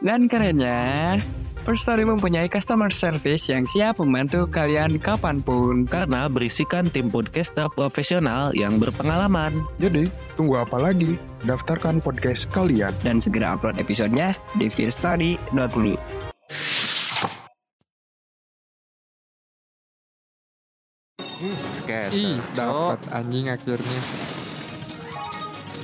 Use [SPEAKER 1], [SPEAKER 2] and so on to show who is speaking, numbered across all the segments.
[SPEAKER 1] Dan kerennya, First Story mempunyai customer service yang siap membantu kalian kapanpun.
[SPEAKER 2] Karena berisikan tim podcaster profesional yang berpengalaman.
[SPEAKER 3] Jadi, tunggu apa lagi? Daftarkan podcast kalian.
[SPEAKER 4] Dan segera upload episodenya di fearstory.me.
[SPEAKER 1] Ih,
[SPEAKER 5] Skater.
[SPEAKER 1] dapat anjing akhirnya.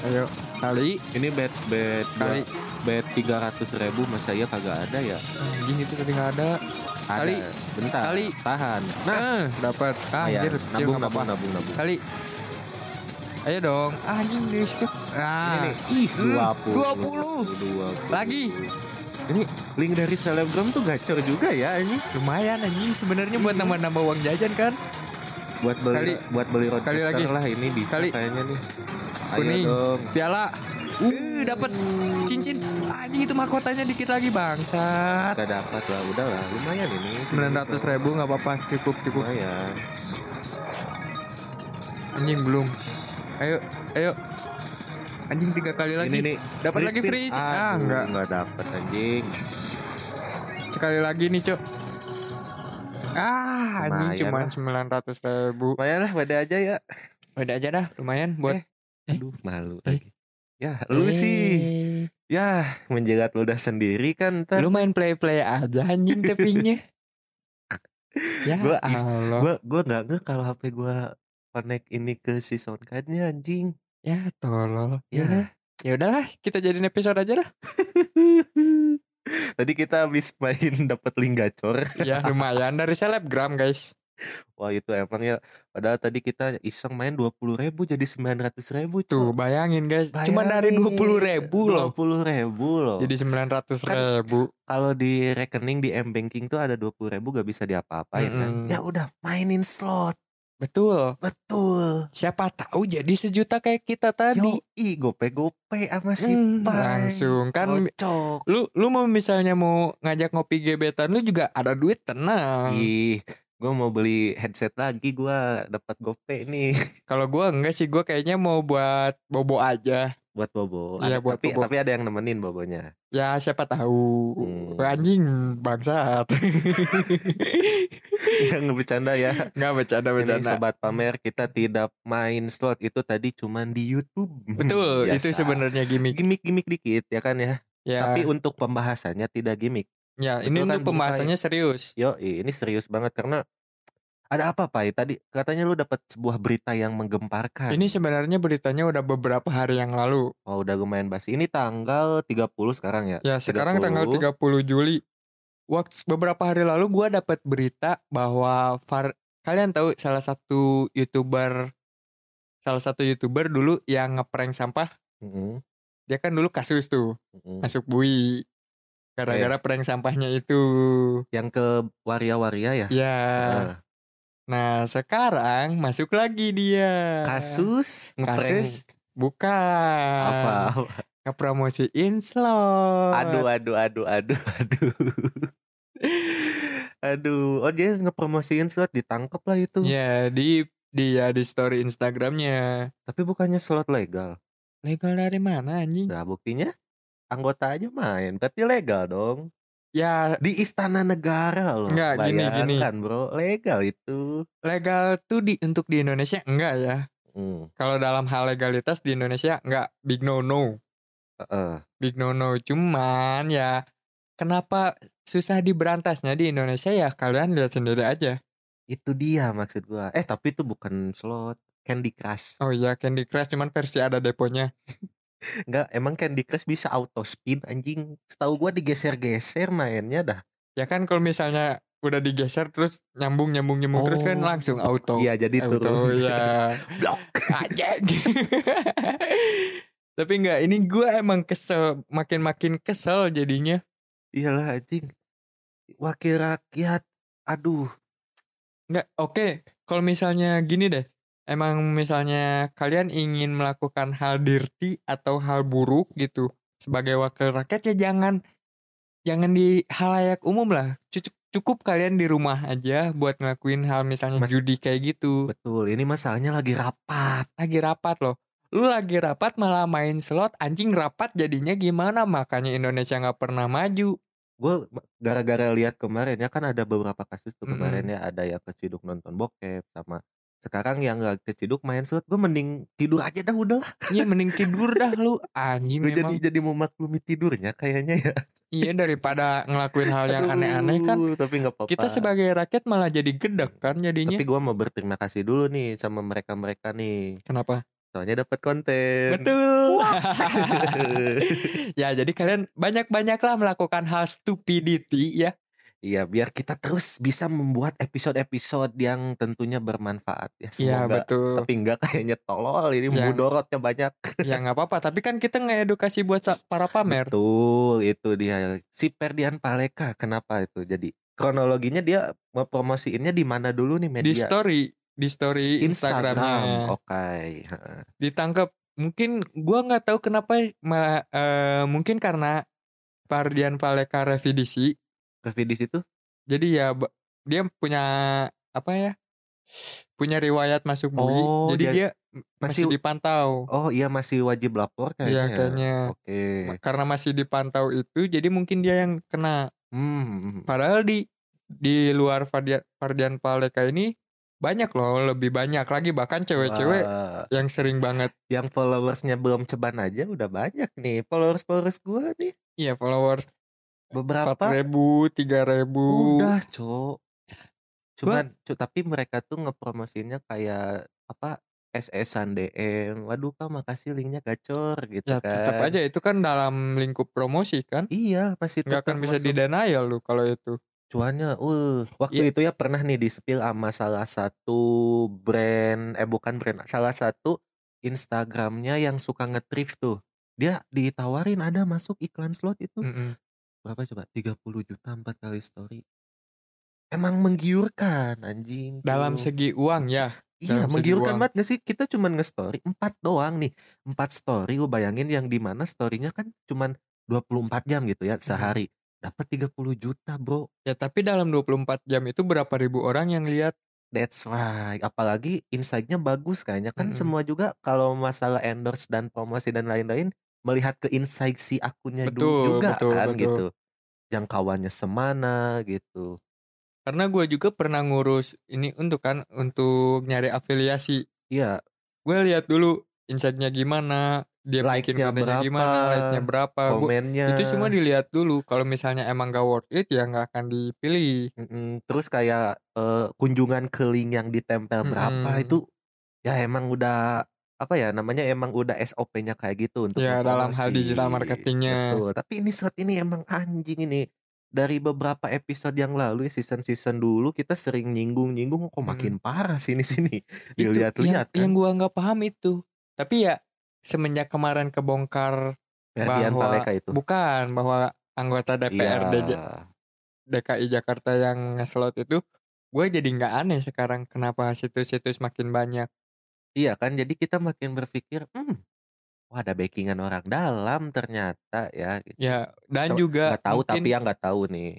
[SPEAKER 1] Ayo, kali
[SPEAKER 5] Ini bet bet
[SPEAKER 1] Kali.
[SPEAKER 5] bet tiga ratus ribu masa iya kagak ada ya?
[SPEAKER 1] anjing itu tadi nggak ada.
[SPEAKER 5] Ada.
[SPEAKER 1] Kali.
[SPEAKER 5] Bentar.
[SPEAKER 1] Kali.
[SPEAKER 5] Tahan.
[SPEAKER 1] Nah, dapat. Ah,
[SPEAKER 5] Ayan.
[SPEAKER 1] anjir, kecil
[SPEAKER 5] nabung,
[SPEAKER 1] nggak apa-apa.
[SPEAKER 5] nabung, nabung, nabung.
[SPEAKER 1] Kali. Ayo dong. Ah, anjing di situ. Ah,
[SPEAKER 5] Ih,
[SPEAKER 1] Hmm, 20.
[SPEAKER 5] 20. 20.
[SPEAKER 1] Lagi.
[SPEAKER 5] Ini link dari selebgram tuh gacor juga ya ini.
[SPEAKER 1] lumayan anjing sebenarnya buat nambah-nambah uang jajan kan.
[SPEAKER 5] Buat beli
[SPEAKER 1] Kali.
[SPEAKER 5] buat beli roadcaster
[SPEAKER 1] Kali lagi.
[SPEAKER 5] lah ini bisa
[SPEAKER 1] Kali.
[SPEAKER 5] kayaknya nih. Ayo
[SPEAKER 1] kuning
[SPEAKER 5] dong.
[SPEAKER 1] piala uh dapat cincin anjing itu mahkotanya dikit lagi bangsat
[SPEAKER 5] Gak dapat lah, udah lah. Lumayan ini.
[SPEAKER 1] 900 ribu nggak apa-apa cukup cukup
[SPEAKER 5] Lumayan.
[SPEAKER 1] anjing belum ayo ayo anjing tiga kali lagi
[SPEAKER 5] Ini nih.
[SPEAKER 1] dapat lagi
[SPEAKER 5] spin.
[SPEAKER 1] free
[SPEAKER 5] Aduh,
[SPEAKER 1] ah enggak
[SPEAKER 5] Enggak dapat anjing.
[SPEAKER 1] sekali lagi nih cok ah anjing
[SPEAKER 5] Lumayan
[SPEAKER 1] cuman 900 ribu
[SPEAKER 5] Lumayan lah, pada aja ya.
[SPEAKER 1] udah aja dah lumayan buat
[SPEAKER 5] Aduh, malu
[SPEAKER 1] eh.
[SPEAKER 5] lagi. Ya, Eh, lu sih. Ya, menjegat ludah sendiri
[SPEAKER 1] Eh,
[SPEAKER 5] kan ntar.
[SPEAKER 1] lu main play play aja anjing tepingnya ya
[SPEAKER 5] Gua is-
[SPEAKER 1] Allah
[SPEAKER 5] Gua gua nggak nge kalau HP gua connect ini ke si soundcardnya anjing.
[SPEAKER 1] Ya tolol.
[SPEAKER 5] Ya.
[SPEAKER 1] Ya. Ya udahlah, kita jadiin episode aja dah.
[SPEAKER 5] Tadi kita habis main dapat link gacor.
[SPEAKER 1] Ya lumayan dari selebgram guys.
[SPEAKER 5] Wah, itu emang ya. Padahal tadi kita iseng main 20 ribu jadi 900 ribu
[SPEAKER 1] Tuh bayangin guys, cuma dari dua puluh ribu loh.
[SPEAKER 5] 20 ribu loh.
[SPEAKER 1] Jadi sembilan ratus
[SPEAKER 5] Kan
[SPEAKER 1] ribu.
[SPEAKER 5] kalau di rekening di M banking tuh ada 20 ribu gak bisa diapa-apain kan.
[SPEAKER 1] Mm-mm.
[SPEAKER 5] Ya udah mainin slot.
[SPEAKER 1] Betul.
[SPEAKER 5] Betul.
[SPEAKER 1] Siapa tahu jadi sejuta kayak kita tadi.
[SPEAKER 5] Yoi, gope-gope sama si
[SPEAKER 1] Hmm,
[SPEAKER 5] Pai.
[SPEAKER 1] langsung kan
[SPEAKER 5] Kocok.
[SPEAKER 1] lu lu mau misalnya mau ngajak ngopi gebetan lu juga ada duit tenang.
[SPEAKER 5] Ih, gue mau beli headset lagi gue dapat gope nih
[SPEAKER 1] Kalau gua enggak sih gua kayaknya mau buat bobo aja.
[SPEAKER 5] buat bobo.
[SPEAKER 1] Iya,
[SPEAKER 5] Ada-
[SPEAKER 1] buat
[SPEAKER 5] tapi
[SPEAKER 1] bobo.
[SPEAKER 5] tapi ada yang nemenin bobonya.
[SPEAKER 1] Ya siapa tahu.
[SPEAKER 5] Hmm.
[SPEAKER 1] Anjing bangsat.
[SPEAKER 5] Yang bercanda ya.
[SPEAKER 1] Enggak
[SPEAKER 5] Ini
[SPEAKER 1] bercanda-bercanda.
[SPEAKER 5] sobat pamer kita tidak main slot itu tadi cuman di YouTube.
[SPEAKER 1] Betul, itu
[SPEAKER 5] Biasa.
[SPEAKER 1] sebenarnya gimmick.
[SPEAKER 5] gimmick-gimmick dikit ya kan ya.
[SPEAKER 1] Ya,
[SPEAKER 5] Tapi untuk pembahasannya tidak gimmick.
[SPEAKER 1] ya
[SPEAKER 5] betul
[SPEAKER 1] ini
[SPEAKER 5] kan,
[SPEAKER 1] untuk
[SPEAKER 5] Bung
[SPEAKER 1] pembahasannya serius.
[SPEAKER 5] Yo, ini serius banget karena ada apa Pai? Tadi katanya lu dapat sebuah berita yang menggemparkan.
[SPEAKER 1] Ini sebenarnya beritanya udah beberapa hari yang lalu.
[SPEAKER 5] Oh, udah lumayan basi. Ini tanggal 30 sekarang ya.
[SPEAKER 1] Ya, sekarang tanggal 30 Juli. Waktu beberapa hari lalu gua dapat berita bahwa Far kalian tahu salah satu YouTuber salah satu YouTuber dulu yang ngeprank sampah,
[SPEAKER 5] Mm-mm,
[SPEAKER 1] dia kan dulu kasus tuh,
[SPEAKER 5] mm-mm.
[SPEAKER 1] masuk bui. Gara-gara
[SPEAKER 5] Iya.
[SPEAKER 1] prank sampahnya itu.
[SPEAKER 5] Yang ke waria-waria ya.
[SPEAKER 1] Ya.
[SPEAKER 5] Nah,
[SPEAKER 1] Nah, sekarang masuk lagi dia.
[SPEAKER 5] Eh, kasus
[SPEAKER 1] Kasus Ah.
[SPEAKER 5] ngeprank
[SPEAKER 1] Oh. bukan.
[SPEAKER 5] apa?
[SPEAKER 1] Ngepromosiin slot.
[SPEAKER 5] Aduh, aduh, aduh, aduh, aduh. aduh, oh dia ngepromosiin slot ditangkap lah itu.
[SPEAKER 1] Ya, di Dia di story Instagramnya.
[SPEAKER 5] Tapi bukannya slot legal.
[SPEAKER 1] Legal dari mana anjing?
[SPEAKER 5] Nah, buktinya anggota aja main. Berarti legal dong.
[SPEAKER 1] Ya
[SPEAKER 5] Di istana negara loh.
[SPEAKER 1] Nggak, gini, gini.
[SPEAKER 5] Bayangkan, bro. Legal itu.
[SPEAKER 1] legal tuh di untuk di Indonesia enggak ya.
[SPEAKER 5] Hmm.
[SPEAKER 1] Kalau dalam hal legalitas di Indonesia enggak big no no.
[SPEAKER 5] eh,
[SPEAKER 1] Big no no cuman ya kenapa susah diberantasnya di Indonesia ya kalian lihat sendiri aja.
[SPEAKER 5] itu dia maksud gua. Eh, tapi itu bukan slot. Candy Crush.
[SPEAKER 1] Oh iya Candy Crush cuman versi ada deponya.
[SPEAKER 5] Enggak, emang Candy Crush bisa auto spin anjing. Setahu gua digeser-geser mainnya dah.
[SPEAKER 1] Ya kan kalau misalnya udah digeser terus nyambung nyambung nyambung terus kan
[SPEAKER 5] Oh.
[SPEAKER 1] langsung auto.
[SPEAKER 5] Iya, jadi
[SPEAKER 1] Auto,
[SPEAKER 5] turun.
[SPEAKER 1] ya.
[SPEAKER 5] Blok.
[SPEAKER 1] Anjing. Tapi enggak, ini gua emang kesel, makin-makin kesel jadinya.
[SPEAKER 5] Iyalah anjing. Wakil rakyat. Aduh,
[SPEAKER 1] Enggak, oke. Kalau misalnya gini deh, emang misalnya kalian ingin melakukan hal dirty atau hal buruk gitu sebagai wakil rakyat ya jangan jangan di halayak umum lah. Cukup cukup kalian di rumah aja buat ngelakuin hal misalnya
[SPEAKER 5] Mas-
[SPEAKER 1] judi kayak gitu.
[SPEAKER 5] betul. Ini masalahnya lagi rapat.
[SPEAKER 1] Lagi rapat loh. Lu lagi rapat malah main slot anjing rapat jadinya gimana? Makanya Indonesia nggak pernah maju.
[SPEAKER 5] gue gara-gara lihat kemarin ya kan ada beberapa kasus tuh
[SPEAKER 1] Mm-mm.
[SPEAKER 5] kemarin ya ada yang keciduk nonton bokep sama sekarang yang gak keciduk main slot gue mending tidur aja dah udahlah
[SPEAKER 1] Iya mending tidur dah lu anjing
[SPEAKER 5] gue jadi
[SPEAKER 1] memang.
[SPEAKER 5] jadi memaklumi tidurnya kayaknya ya
[SPEAKER 1] Iya daripada ngelakuin hal yang
[SPEAKER 5] Aduh,
[SPEAKER 1] aneh-aneh kan
[SPEAKER 5] tapi nggak apa-apa
[SPEAKER 1] kita sebagai rakyat malah jadi gedek kan jadinya.
[SPEAKER 5] tapi gue mau berterima kasih dulu nih sama mereka-mereka nih
[SPEAKER 1] Kenapa?
[SPEAKER 5] soalnya dapat konten
[SPEAKER 1] Betul. ya jadi kalian banyak-banyaklah melakukan hal stupidity ya.
[SPEAKER 5] Iya biar kita terus bisa membuat episode-episode yang tentunya bermanfaat
[SPEAKER 1] Iya
[SPEAKER 5] ya semoga
[SPEAKER 1] betul.
[SPEAKER 5] tapi nggak kayaknya tolol ini
[SPEAKER 1] Ya.
[SPEAKER 5] mudorotnya banyak
[SPEAKER 1] Ya nggak apa-apa. Tapi kan kita ngedukasi buat sa- para pamer.
[SPEAKER 5] Betul, itu dia. Si Perdian Paleka kenapa itu? Jadi kronologinya dia mempromosiinnya di mana dulu nih
[SPEAKER 1] Di
[SPEAKER 5] media?
[SPEAKER 1] story, di story Instagramnya
[SPEAKER 5] Oke. Heeh.
[SPEAKER 1] ditangkap. Mungkin gua nggak tahu kenapa malah eh, mungkin karena Pardian Paleka revidisi
[SPEAKER 5] Review di situ?
[SPEAKER 1] Jadi ya ba- dia punya apa ya? Punya riwayat masuk bui.
[SPEAKER 5] Oh,
[SPEAKER 1] jadi
[SPEAKER 5] dia
[SPEAKER 1] dia, masih,
[SPEAKER 5] Masih
[SPEAKER 1] dipantau.
[SPEAKER 5] Oh, iya masih wajib lapor
[SPEAKER 1] Iya
[SPEAKER 5] kayaknya. ya?
[SPEAKER 1] kayaknya.
[SPEAKER 5] Oke.
[SPEAKER 1] Karena masih dipantau itu jadi mungkin dia yang kena.
[SPEAKER 5] Hmm.
[SPEAKER 1] Padahal di di luar Fardian, Fardian Paleka ini banyak loh, lebih banyak lagi bahkan cewek-cewek
[SPEAKER 5] Wah,
[SPEAKER 1] yang sering banget.
[SPEAKER 5] yang followersnya belum ceban aja udah banyak nih. Followers-followers gua nih
[SPEAKER 1] Iya, followers
[SPEAKER 5] beberapa
[SPEAKER 1] 4000, 3000.
[SPEAKER 5] Udah, Cok. Cuman cu- tapi mereka tuh ngepromosinya kayak apa? SS-an DM. Waduh, Kak, makasih linknya gacor gitu
[SPEAKER 1] Ya
[SPEAKER 5] kan.
[SPEAKER 1] tetap aja itu kan dalam lingkup promosi kan.
[SPEAKER 5] Iya, masih
[SPEAKER 1] nggak akan bisa di denial lu kalau itu.
[SPEAKER 5] cuannya. Uh, waktu
[SPEAKER 1] Iya.
[SPEAKER 5] itu ya pernah nih disepil sama salah satu brand eh bukan brand, salah satu Instagramnya yang suka nge-thrift tuh. Dia ditawarin ada masuk iklan slot itu.
[SPEAKER 1] Mm-mm.
[SPEAKER 5] Berapa coba? 30 juta 4 kali story. Emang menggiurkan anjing.
[SPEAKER 1] Dalam
[SPEAKER 5] tuh.
[SPEAKER 1] segi uang ya.
[SPEAKER 5] Iya
[SPEAKER 1] Dalam segi
[SPEAKER 5] menggiurkan
[SPEAKER 1] uang.
[SPEAKER 5] banget gak sih Kita cuman nge-story 4 doang nih 4 story lu bayangin yang dimana storynya kan cuman 24 jam gitu
[SPEAKER 1] Hmm.
[SPEAKER 5] ya sehari Dapat 30 juta bro
[SPEAKER 1] Ya tapi dalam 24 jam itu berapa ribu orang yang lihat
[SPEAKER 5] That's right Apalagi insight-nya bagus kayaknya Kan
[SPEAKER 1] Mm-mm.
[SPEAKER 5] semua juga kalau masalah endorse dan promosi dan lain-lain Melihat ke insight si akunnya
[SPEAKER 1] Betul,
[SPEAKER 5] dulu juga
[SPEAKER 1] betul,
[SPEAKER 5] kan
[SPEAKER 1] betul.
[SPEAKER 5] gitu Jangkauannya semana gitu
[SPEAKER 1] karena gue juga pernah ngurus ini untuk kan untuk nyari afiliasi.
[SPEAKER 5] Iya
[SPEAKER 1] Gue lihat dulu insightnya gimana, dia bikin
[SPEAKER 5] Like-nya
[SPEAKER 1] kontennya
[SPEAKER 5] berapa,
[SPEAKER 1] gimana, like-nya berapa. Gua-
[SPEAKER 5] komennya
[SPEAKER 1] itu semua dilihat dulu. Kalau misalnya emang gak worth it ya nggak akan dipilih.
[SPEAKER 5] Mm-mm. terus kayak eh, kunjungan ke link yang ditempel berapa
[SPEAKER 1] Mm-mm.
[SPEAKER 5] itu ya emang udah apa ya namanya emang udah SOP-nya kayak gitu untuk
[SPEAKER 1] Ya, dalam hal
[SPEAKER 5] mempromosi.
[SPEAKER 1] digital marketingnya.
[SPEAKER 5] Betul. Tapi ini saat ini emang anjing ini dari beberapa episode yang lalu ya season-season dulu kita sering nyinggung-nyinggung "Oh, kok makin parah sini-sini
[SPEAKER 1] Itu
[SPEAKER 5] dilihat-lihat
[SPEAKER 1] yang, yang
[SPEAKER 5] kan.
[SPEAKER 1] gue nggak paham itu. Tapi ya semenjak kemarin kebongkar
[SPEAKER 5] Ferdian
[SPEAKER 1] bahwa-
[SPEAKER 5] Paleka ya, itu.
[SPEAKER 1] bukan bahwa anggota DPRD
[SPEAKER 5] Iya.
[SPEAKER 1] DKI Jakarta yang ngeslot itu gue jadi nggak aneh sekarang kenapa situs-situs makin banyak
[SPEAKER 5] Iya kan, jadi kita makin berpikir, hmm, wah ada backingan orang dalam ternyata ya. gitu.
[SPEAKER 1] ya dan
[SPEAKER 5] So-
[SPEAKER 1] juga
[SPEAKER 5] nggak tahu
[SPEAKER 1] mungkin-
[SPEAKER 5] tapi yang nggak tahu nih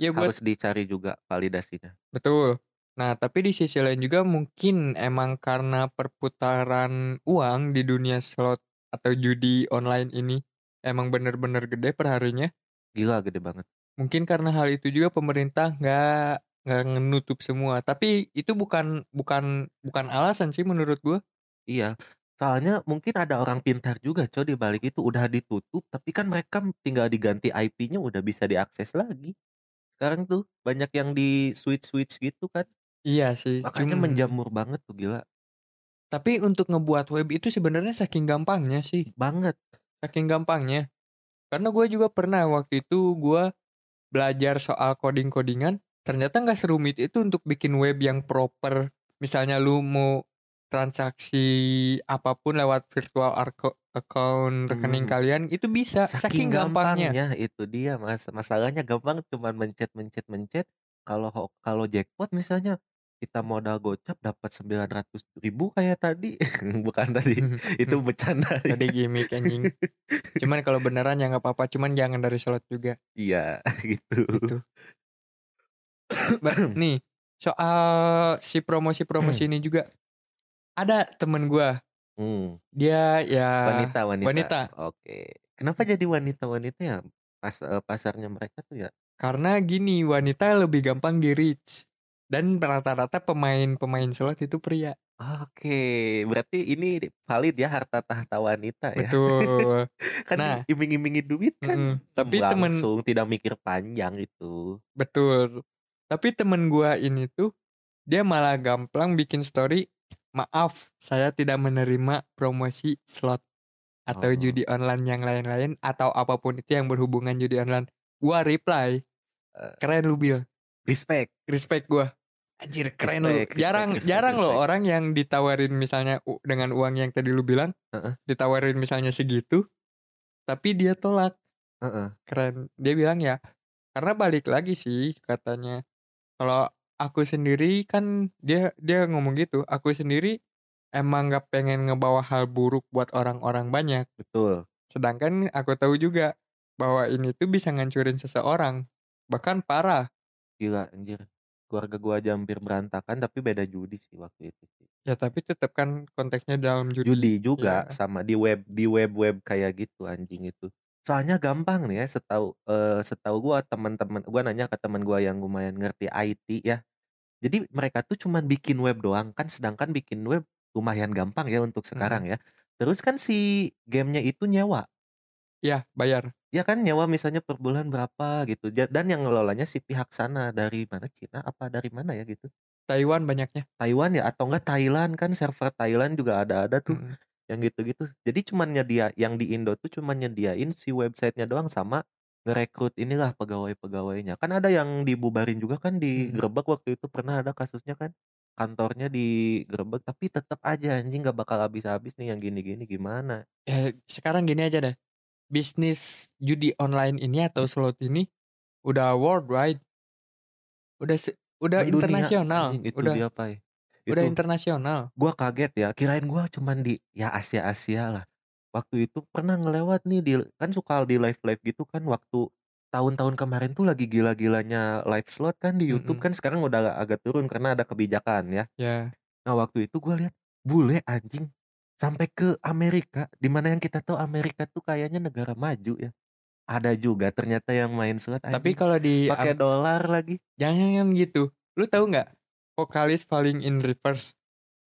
[SPEAKER 1] ya buat
[SPEAKER 5] harus dicari juga validasinya.
[SPEAKER 1] betul Nah, tapi di sisi lain juga mungkin emang karena perputaran uang di dunia slot atau judi online ini emang bener-bener gede perharinya.
[SPEAKER 5] Gila gede banget.
[SPEAKER 1] Mungkin karena hal itu juga pemerintah nggak nggak menutup semua. Tapi itu bukan bukan bukan alasan sih menurut gua.
[SPEAKER 5] Iya. Soalnya mungkin ada orang pintar juga coy di balik itu udah ditutup tapi kan mereka tinggal diganti IP-nya udah bisa diakses lagi. Sekarang tuh banyak yang di switch-switch gitu kan.
[SPEAKER 1] Iya sih.
[SPEAKER 5] Makanya
[SPEAKER 1] cuma-
[SPEAKER 5] menjamur banget tuh gila.
[SPEAKER 1] Tapi untuk ngebuat web itu sebenarnya saking gampangnya sih.
[SPEAKER 5] Banget.
[SPEAKER 1] saking gampangnya karena gue juga pernah waktu itu gue belajar soal coding codingan ternyata nggak serumit itu untuk bikin web yang proper misalnya lu mau transaksi apapun lewat virtual arco- account rekening
[SPEAKER 5] Hmm.
[SPEAKER 1] kalian itu bisa Iya, saking, gampangnya.
[SPEAKER 5] itu dia mas masalahnya gampang cuman mencet mencet mencet kalau ho- kalau jackpot misalnya kita modal gocap dapat 900 ribu kayak tadi bukan tadi itu bercanda
[SPEAKER 1] Hmm, tadi gimmick anjing cuman kalau beneran ya nggak apa-apa cuman jangan dari slot juga
[SPEAKER 5] iya gitu
[SPEAKER 1] gitu. Ba- nih soal si promosi promosi ini juga ada temen gue
[SPEAKER 5] Hmm,
[SPEAKER 1] dia ya
[SPEAKER 5] wanita wanita
[SPEAKER 1] wanita.
[SPEAKER 5] oke kenapa jadi wanita wanita ya pas eh, pasarnya mereka tuh ya
[SPEAKER 1] karena gini wanita lebih gampang di reach dan rata-rata pemain-pemain slot itu pria
[SPEAKER 5] oke berarti ini valid ya harta tahta wanita ya
[SPEAKER 1] betul
[SPEAKER 5] kan
[SPEAKER 1] Nah.
[SPEAKER 5] iming-imingi duit
[SPEAKER 1] Mm-mm.
[SPEAKER 5] kan
[SPEAKER 1] tapi temen
[SPEAKER 5] langsung tidak mikir panjang itu
[SPEAKER 1] betul tapi temen gua ini tuh dia malah gampang bikin story maaf saya tidak menerima promosi slot atau
[SPEAKER 5] Oh.
[SPEAKER 1] judi online yang lain-lain atau apapun itu yang berhubungan judi online gua reply
[SPEAKER 5] Eh.
[SPEAKER 1] keren lu Bill
[SPEAKER 5] respect
[SPEAKER 1] respect gua anjir keren lu
[SPEAKER 5] Respect, respect,
[SPEAKER 1] jarang
[SPEAKER 5] respect,
[SPEAKER 1] jarang loh
[SPEAKER 5] respect.
[SPEAKER 1] orang yang ditawarin misalnya u- dengan uang yang tadi lu bilang
[SPEAKER 5] Heeh.
[SPEAKER 1] ditawarin misalnya segitu tapi dia tolak
[SPEAKER 5] Heeh.
[SPEAKER 1] keren dia bilang ya karena balik lagi sih katanya kalau aku sendiri kan dia dia ngomong gitu aku sendiri emang gak pengen ngebawa hal buruk buat orang-orang banyak
[SPEAKER 5] betul
[SPEAKER 1] Sedangkan aku tahu juga bahwa ini tuh bisa ngancurin seseorang, bahkan parah.
[SPEAKER 5] gila anjir keluarga gua aja hampir berantakan tapi beda judi sih waktu itu sih.
[SPEAKER 1] Ya tapi tetap kan konteksnya dalam judi.
[SPEAKER 5] judi juga
[SPEAKER 1] Iya.
[SPEAKER 5] sama di web di web web kayak gitu anjing itu soalnya gampang nih ya setahu eh, setahu gua teman-teman gua nanya ke teman gua yang lumayan ngerti IT ya jadi mereka tuh cuman bikin web doang kan sedangkan bikin web lumayan gampang ya untuk sekarang ya terus kan si gamenya itu nyewa
[SPEAKER 1] Ya, bayar.
[SPEAKER 5] ya kan nyewa misalnya per bulan berapa gitu Ja- dan yang ngelolanya si pihak sana dari mana Cina apa dari mana ya gitu
[SPEAKER 1] Taiwan banyaknya.
[SPEAKER 5] Taiwan ya atau enggak Thailand kan server Thailand juga ada-ada tuh
[SPEAKER 1] Mm.
[SPEAKER 5] yang gitu-gitu. Jadi cuman nyedia yang di Indo tuh cuman nyediain si websitenya doang sama ngerekrut inilah pegawai-pegawainya. Kan ada yang dibubarin juga kan di
[SPEAKER 1] Mm.
[SPEAKER 5] Grebek waktu itu pernah ada kasusnya kan kantornya di Grebek tapi tetap aja anjing nggak bakal habis-habis nih yang gini-gini gimana.
[SPEAKER 1] Ya, sekarang gini aja deh. Bisnis judi online ini atau slot ini udah worldwide. Udah se- udah
[SPEAKER 5] Mendunia,
[SPEAKER 1] internasional,
[SPEAKER 5] anjing, Iya, itu
[SPEAKER 1] udah
[SPEAKER 5] dia Pai.
[SPEAKER 1] udah
[SPEAKER 5] Itu-
[SPEAKER 1] internasional.
[SPEAKER 5] gua kaget ya kirain gua cuman di ya Asia Asia lah waktu itu pernah ngelewat nih di kan suka di live live gitu kan waktu tahun-tahun kemarin tuh lagi gila-gilanya live slot kan di YouTube
[SPEAKER 1] Mm-mm.
[SPEAKER 5] kan sekarang udah agak, agak turun karena ada kebijakan ya
[SPEAKER 1] Ya,
[SPEAKER 5] nah waktu itu gua lihat bule anjing sampai ke Amerika dimana yang kita tahu Amerika tuh kayaknya negara maju ya ada juga ternyata yang main slot
[SPEAKER 1] tapi
[SPEAKER 5] anjing.
[SPEAKER 1] kalau di
[SPEAKER 5] pakai dolar lagi
[SPEAKER 1] jangan jangan gitu. Lu tahu nggak? Vokalis Falling in Reverse.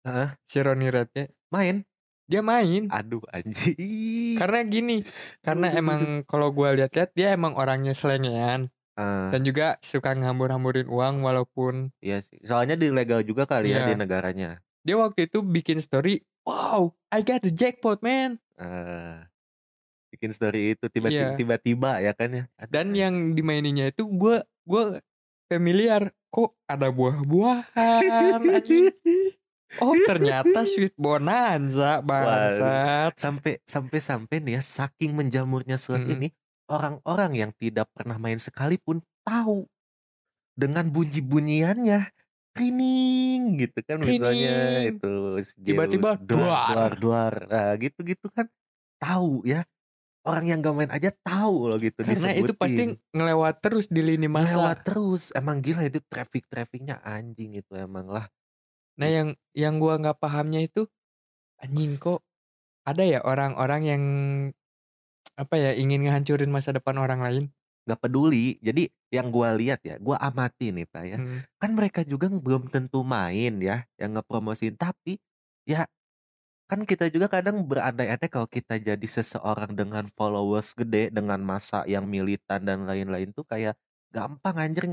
[SPEAKER 5] Hah?
[SPEAKER 1] Si Ronnie Radke,
[SPEAKER 5] main
[SPEAKER 1] dia main.
[SPEAKER 5] aduh anjing
[SPEAKER 1] karena gini karena
[SPEAKER 5] Aduh, aduh,
[SPEAKER 1] emang kalau gua lihat-lihat dia emang orangnya selengean
[SPEAKER 5] Ah.
[SPEAKER 1] dan juga suka ngambur-hamburin uang walaupun
[SPEAKER 5] Iya sih. Soalnya di legal juga kali
[SPEAKER 1] Iya.
[SPEAKER 5] ya di negaranya.
[SPEAKER 1] dia waktu itu bikin story wow I got the jackpot man
[SPEAKER 5] Eh, bikin story itu tiba-tiba
[SPEAKER 1] Iya.
[SPEAKER 5] tiba-tiba ya kan ya. Aduh,
[SPEAKER 1] dan yang dimaininya itu gua gua familiar kok ada buah-buahan anjing. oh ternyata sweet bonanza bangsat
[SPEAKER 5] sampai sampai sampai nih ya saking menjamurnya slot
[SPEAKER 1] Mm-mm.
[SPEAKER 5] ini orang-orang yang tidak pernah main sekalipun tahu dengan bunyi-bunyiannya Rining gitu kan misalnya
[SPEAKER 1] Rining.
[SPEAKER 5] itu
[SPEAKER 1] Tiba-tiba
[SPEAKER 5] duar
[SPEAKER 1] duar.
[SPEAKER 5] duar duar nah, gitu-gitu kan tahu ya orang yang gak main aja tahu loh gitu
[SPEAKER 1] Karena itu
[SPEAKER 5] disebutin.
[SPEAKER 1] pasti ngelewat terus di lini masa.
[SPEAKER 5] lewat terus emang gila itu traffic trafficnya anjing itu emang lah
[SPEAKER 1] Nah yang yang gua nggak pahamnya itu anjing kok ada ya orang-orang yang apa ya ingin ngehancurin masa depan orang lain.
[SPEAKER 5] nggak peduli jadi yang gua lihat ya gua amati nih pak ya
[SPEAKER 1] Hmm.
[SPEAKER 5] kan mereka juga belum tentu main ya yang ngepromosin tapi ya kan kita juga kadang berandai-andai kalau kita jadi seseorang dengan followers gede dengan masa yang militan dan lain-lain tuh kayak gampang anjir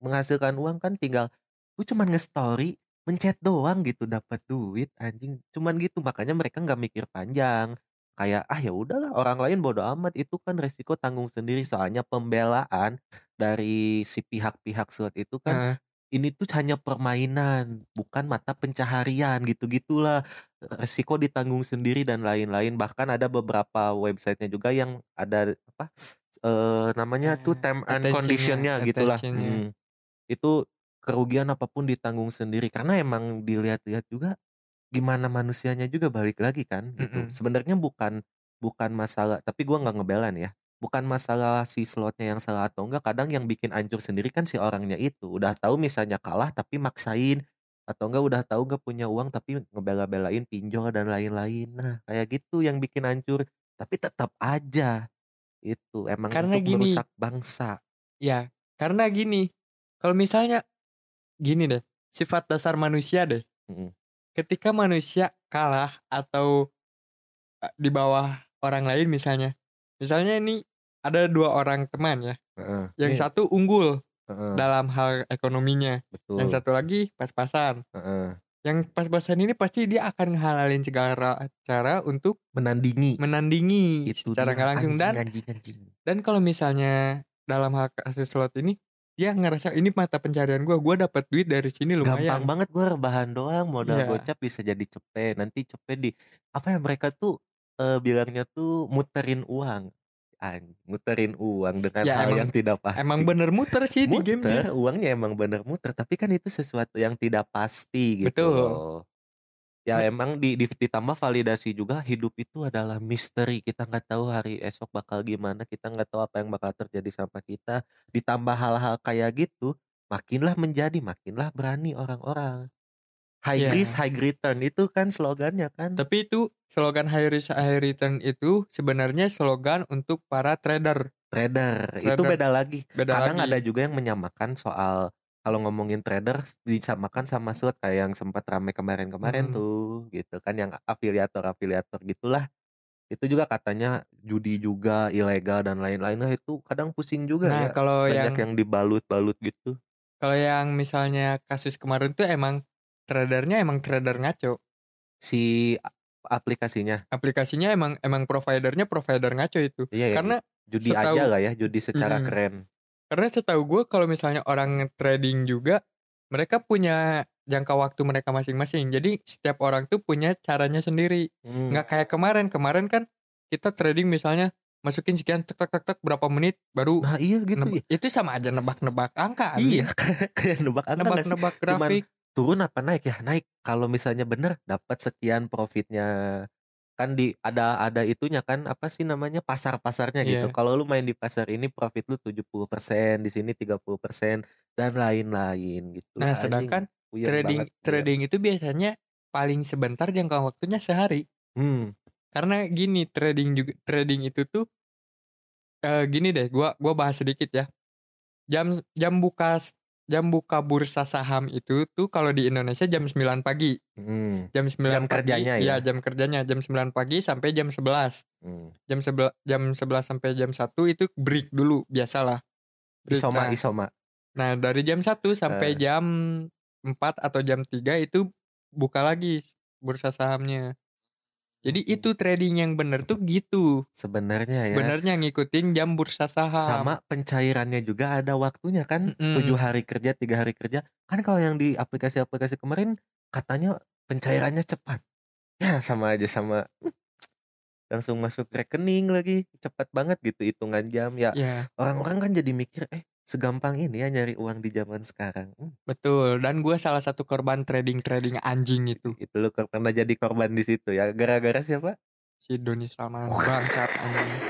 [SPEAKER 5] menghasilkan uang kan tinggal lu cuman nge-story mencet doang gitu dapat duit anjing cuman gitu makanya mereka nggak mikir panjang kayak ah ya udahlah orang lain bodo amat itu kan resiko tanggung sendiri soalnya pembelaan dari si pihak-pihak surat itu kan
[SPEAKER 1] Nah,
[SPEAKER 5] ini tuh hanya permainan, bukan mata pencaharian gitu-gitulah. Resiko ditanggung sendiri dan lain-lain. Bahkan ada beberapa websitenya juga yang ada apa eh, namanya tuh
[SPEAKER 1] Eh,
[SPEAKER 5] term and
[SPEAKER 1] attention-nya,
[SPEAKER 5] conditionnya gitulah.
[SPEAKER 1] attention-nya.
[SPEAKER 5] Hmm. Itu kerugian apapun ditanggung sendiri karena emang dilihat-lihat juga gimana manusianya juga balik lagi kan gitu.
[SPEAKER 1] Mm-mm.
[SPEAKER 5] Sebenarnya bukan bukan masalah, tapi gua nggak ngebelan ya bukan masalah si slotnya yang salah atau enggak kadang yang bikin ancur sendiri kan si orangnya itu udah tahu misalnya kalah tapi maksain atau enggak udah tahu enggak punya uang tapi ngebela-belain pinjol dan lain-lain nah kayak gitu yang bikin hancur tapi tetap aja itu emang
[SPEAKER 1] Karena
[SPEAKER 5] untuk
[SPEAKER 1] gini.
[SPEAKER 5] merusak bangsa
[SPEAKER 1] Ya, karena gini, kalau misalnya gini deh, sifat dasar manusia deh.
[SPEAKER 5] Mm.
[SPEAKER 1] Ketika manusia kalah atau eh, di bawah orang lain misalnya. Misalnya ini ada dua orang teman ya.
[SPEAKER 5] Heeh,
[SPEAKER 1] Yang
[SPEAKER 5] Iya,
[SPEAKER 1] satu unggul
[SPEAKER 5] heeh,
[SPEAKER 1] dalam hal ekonominya,
[SPEAKER 5] betul
[SPEAKER 1] yang satu lagi pas-pasan.
[SPEAKER 5] heeh.
[SPEAKER 1] Yang pas-pasan ini pasti dia akan ngehalalin segala cara untuk
[SPEAKER 5] menandingi
[SPEAKER 1] menandingi secara
[SPEAKER 5] Gitu, dia,
[SPEAKER 1] nggak langsung dan
[SPEAKER 5] anjing, anjing, anjing.
[SPEAKER 1] dan kalau misalnya dalam hal kasus slot ini dia ngerasa ini mata pencarian gua gua dapat duit dari sini
[SPEAKER 5] gampang
[SPEAKER 1] lumayan
[SPEAKER 5] banget gue rebahan doang modal
[SPEAKER 1] Iya.
[SPEAKER 5] gocap bisa jadi cepe nanti cepe di apa ya mereka tuh eh, bilangnya tuh muterin uang An- muterin uang dengan
[SPEAKER 1] Ya,
[SPEAKER 5] hal
[SPEAKER 1] emang-
[SPEAKER 5] yang tidak pasti
[SPEAKER 1] emang bener muter sih di game
[SPEAKER 5] muter uangnya emang bener muter tapi kan itu sesuatu yang tidak pasti gitu
[SPEAKER 1] Betul.
[SPEAKER 5] loh. ya emang di, di- ditambah validasi juga hidup itu adalah misteri kita nggak tahu hari esok bakal gimana kita nggak tahu apa yang bakal terjadi sama kita ditambah hal-hal kayak gitu makinlah menjadi makinlah berani orang-orang high
[SPEAKER 1] Iya.
[SPEAKER 5] risk high return itu kan slogannya kan
[SPEAKER 1] tapi itu slogan high risk high return itu sebenarnya slogan untuk para trader
[SPEAKER 5] trader itu
[SPEAKER 1] Trader.
[SPEAKER 5] beda lagi
[SPEAKER 1] beda
[SPEAKER 5] kadang
[SPEAKER 1] lagi
[SPEAKER 5] ada juga yang menyamakan soal kalau ngomongin trader disamakan sama slot kayak yang sempat rame kemarin-kemarin
[SPEAKER 1] Hmm.
[SPEAKER 5] tuh gitu kan yang afiliator-afiliator gitulah itu juga katanya judi juga ilegal dan lain-lain nah itu kadang pusing juga
[SPEAKER 1] nah
[SPEAKER 5] ya
[SPEAKER 1] kalau yang
[SPEAKER 5] banyak yang dibalut-balut gitu
[SPEAKER 1] kalau yang misalnya kasus kemarin tuh emang tradernya emang trader ngaco
[SPEAKER 5] si a- aplikasinya
[SPEAKER 1] aplikasinya emang emang providernya provider ngaco itu
[SPEAKER 5] iya ya,
[SPEAKER 1] karena
[SPEAKER 5] judi
[SPEAKER 1] setahu- Hmm.
[SPEAKER 5] aja lah ya judi secara
[SPEAKER 1] Mm-mm.
[SPEAKER 5] keren
[SPEAKER 1] Karena setahu gue kalau misalnya orang trading juga mereka punya jangka waktu mereka masing-masing. Jadi setiap orang tuh punya caranya sendiri.
[SPEAKER 5] Hmm.
[SPEAKER 1] Nggak kayak kemarin. Kemarin kan kita trading misalnya masukin sekian tek tek tek, tek, berapa menit baru
[SPEAKER 5] nah iya gitu
[SPEAKER 1] nebak. itu sama aja nebak-nebak angka.
[SPEAKER 5] iya kayak nebak angka nggak sih?
[SPEAKER 1] Nebak-nebak
[SPEAKER 5] Cuman-
[SPEAKER 1] grafik.
[SPEAKER 5] turun apa naik ya naik kalau misalnya bener dapat sekian profitnya kan di ada ada itunya kan apa sih namanya pasar pasarnya gitu
[SPEAKER 1] Iya.
[SPEAKER 5] kalau lu main di pasar ini profit lu 70% di sini 30% dan lain-lain gitu
[SPEAKER 1] Nah,
[SPEAKER 5] Anjing,
[SPEAKER 1] sedangkan
[SPEAKER 5] puyeng
[SPEAKER 1] trading
[SPEAKER 5] ya, banget, iya. puyeng.
[SPEAKER 1] trading itu biasanya paling sebentar jangka waktunya sehari.
[SPEAKER 5] Hmm,
[SPEAKER 1] Karena gini trading juga trading itu tuh eh, gini deh, gua gua bahas sedikit ya. Jam jam buka jam buka bursa saham itu tuh kalau di Indonesia jam 9 pagi.
[SPEAKER 5] hmm,
[SPEAKER 1] Jam 9
[SPEAKER 5] Jam
[SPEAKER 1] pagi,
[SPEAKER 5] kerjanya ya?
[SPEAKER 1] Iya, jam kerjanya jam 9 pagi sampai jam 11.
[SPEAKER 5] hmm.
[SPEAKER 1] Jam 11 jam 11 sampai jam 1 itu break dulu biasalah. Break.
[SPEAKER 5] isoma
[SPEAKER 1] nah,
[SPEAKER 5] isoma
[SPEAKER 1] nah, dari jam 1
[SPEAKER 5] Nah.
[SPEAKER 1] sampai jam 4 atau jam 3 itu buka lagi bursa sahamnya. Jadi
[SPEAKER 5] Hmm.
[SPEAKER 1] itu trading yang bener tuh gitu
[SPEAKER 5] sebenarnya ya
[SPEAKER 1] sebenarnya ngikutin jam bursa saham
[SPEAKER 5] sama pencairannya juga ada waktunya kan
[SPEAKER 1] Mm-mm.
[SPEAKER 5] tujuh hari kerja tiga hari kerja kan kalau yang di aplikasi-aplikasi kemarin katanya pencairannya cepat ya sama aja sama langsung masuk rekening lagi cepat banget gitu hitungan jam ya
[SPEAKER 1] ya
[SPEAKER 5] orang-orang kan jadi mikir eh segampang ini ya nyari uang di zaman sekarang Hmm,
[SPEAKER 1] betul dan gue salah satu
[SPEAKER 5] gitu
[SPEAKER 1] korban trading trading anjing itu
[SPEAKER 5] itu lo pernah jadi korban di situ ya gara-gara siapa
[SPEAKER 1] si Doni Salmanan bangsat anjing.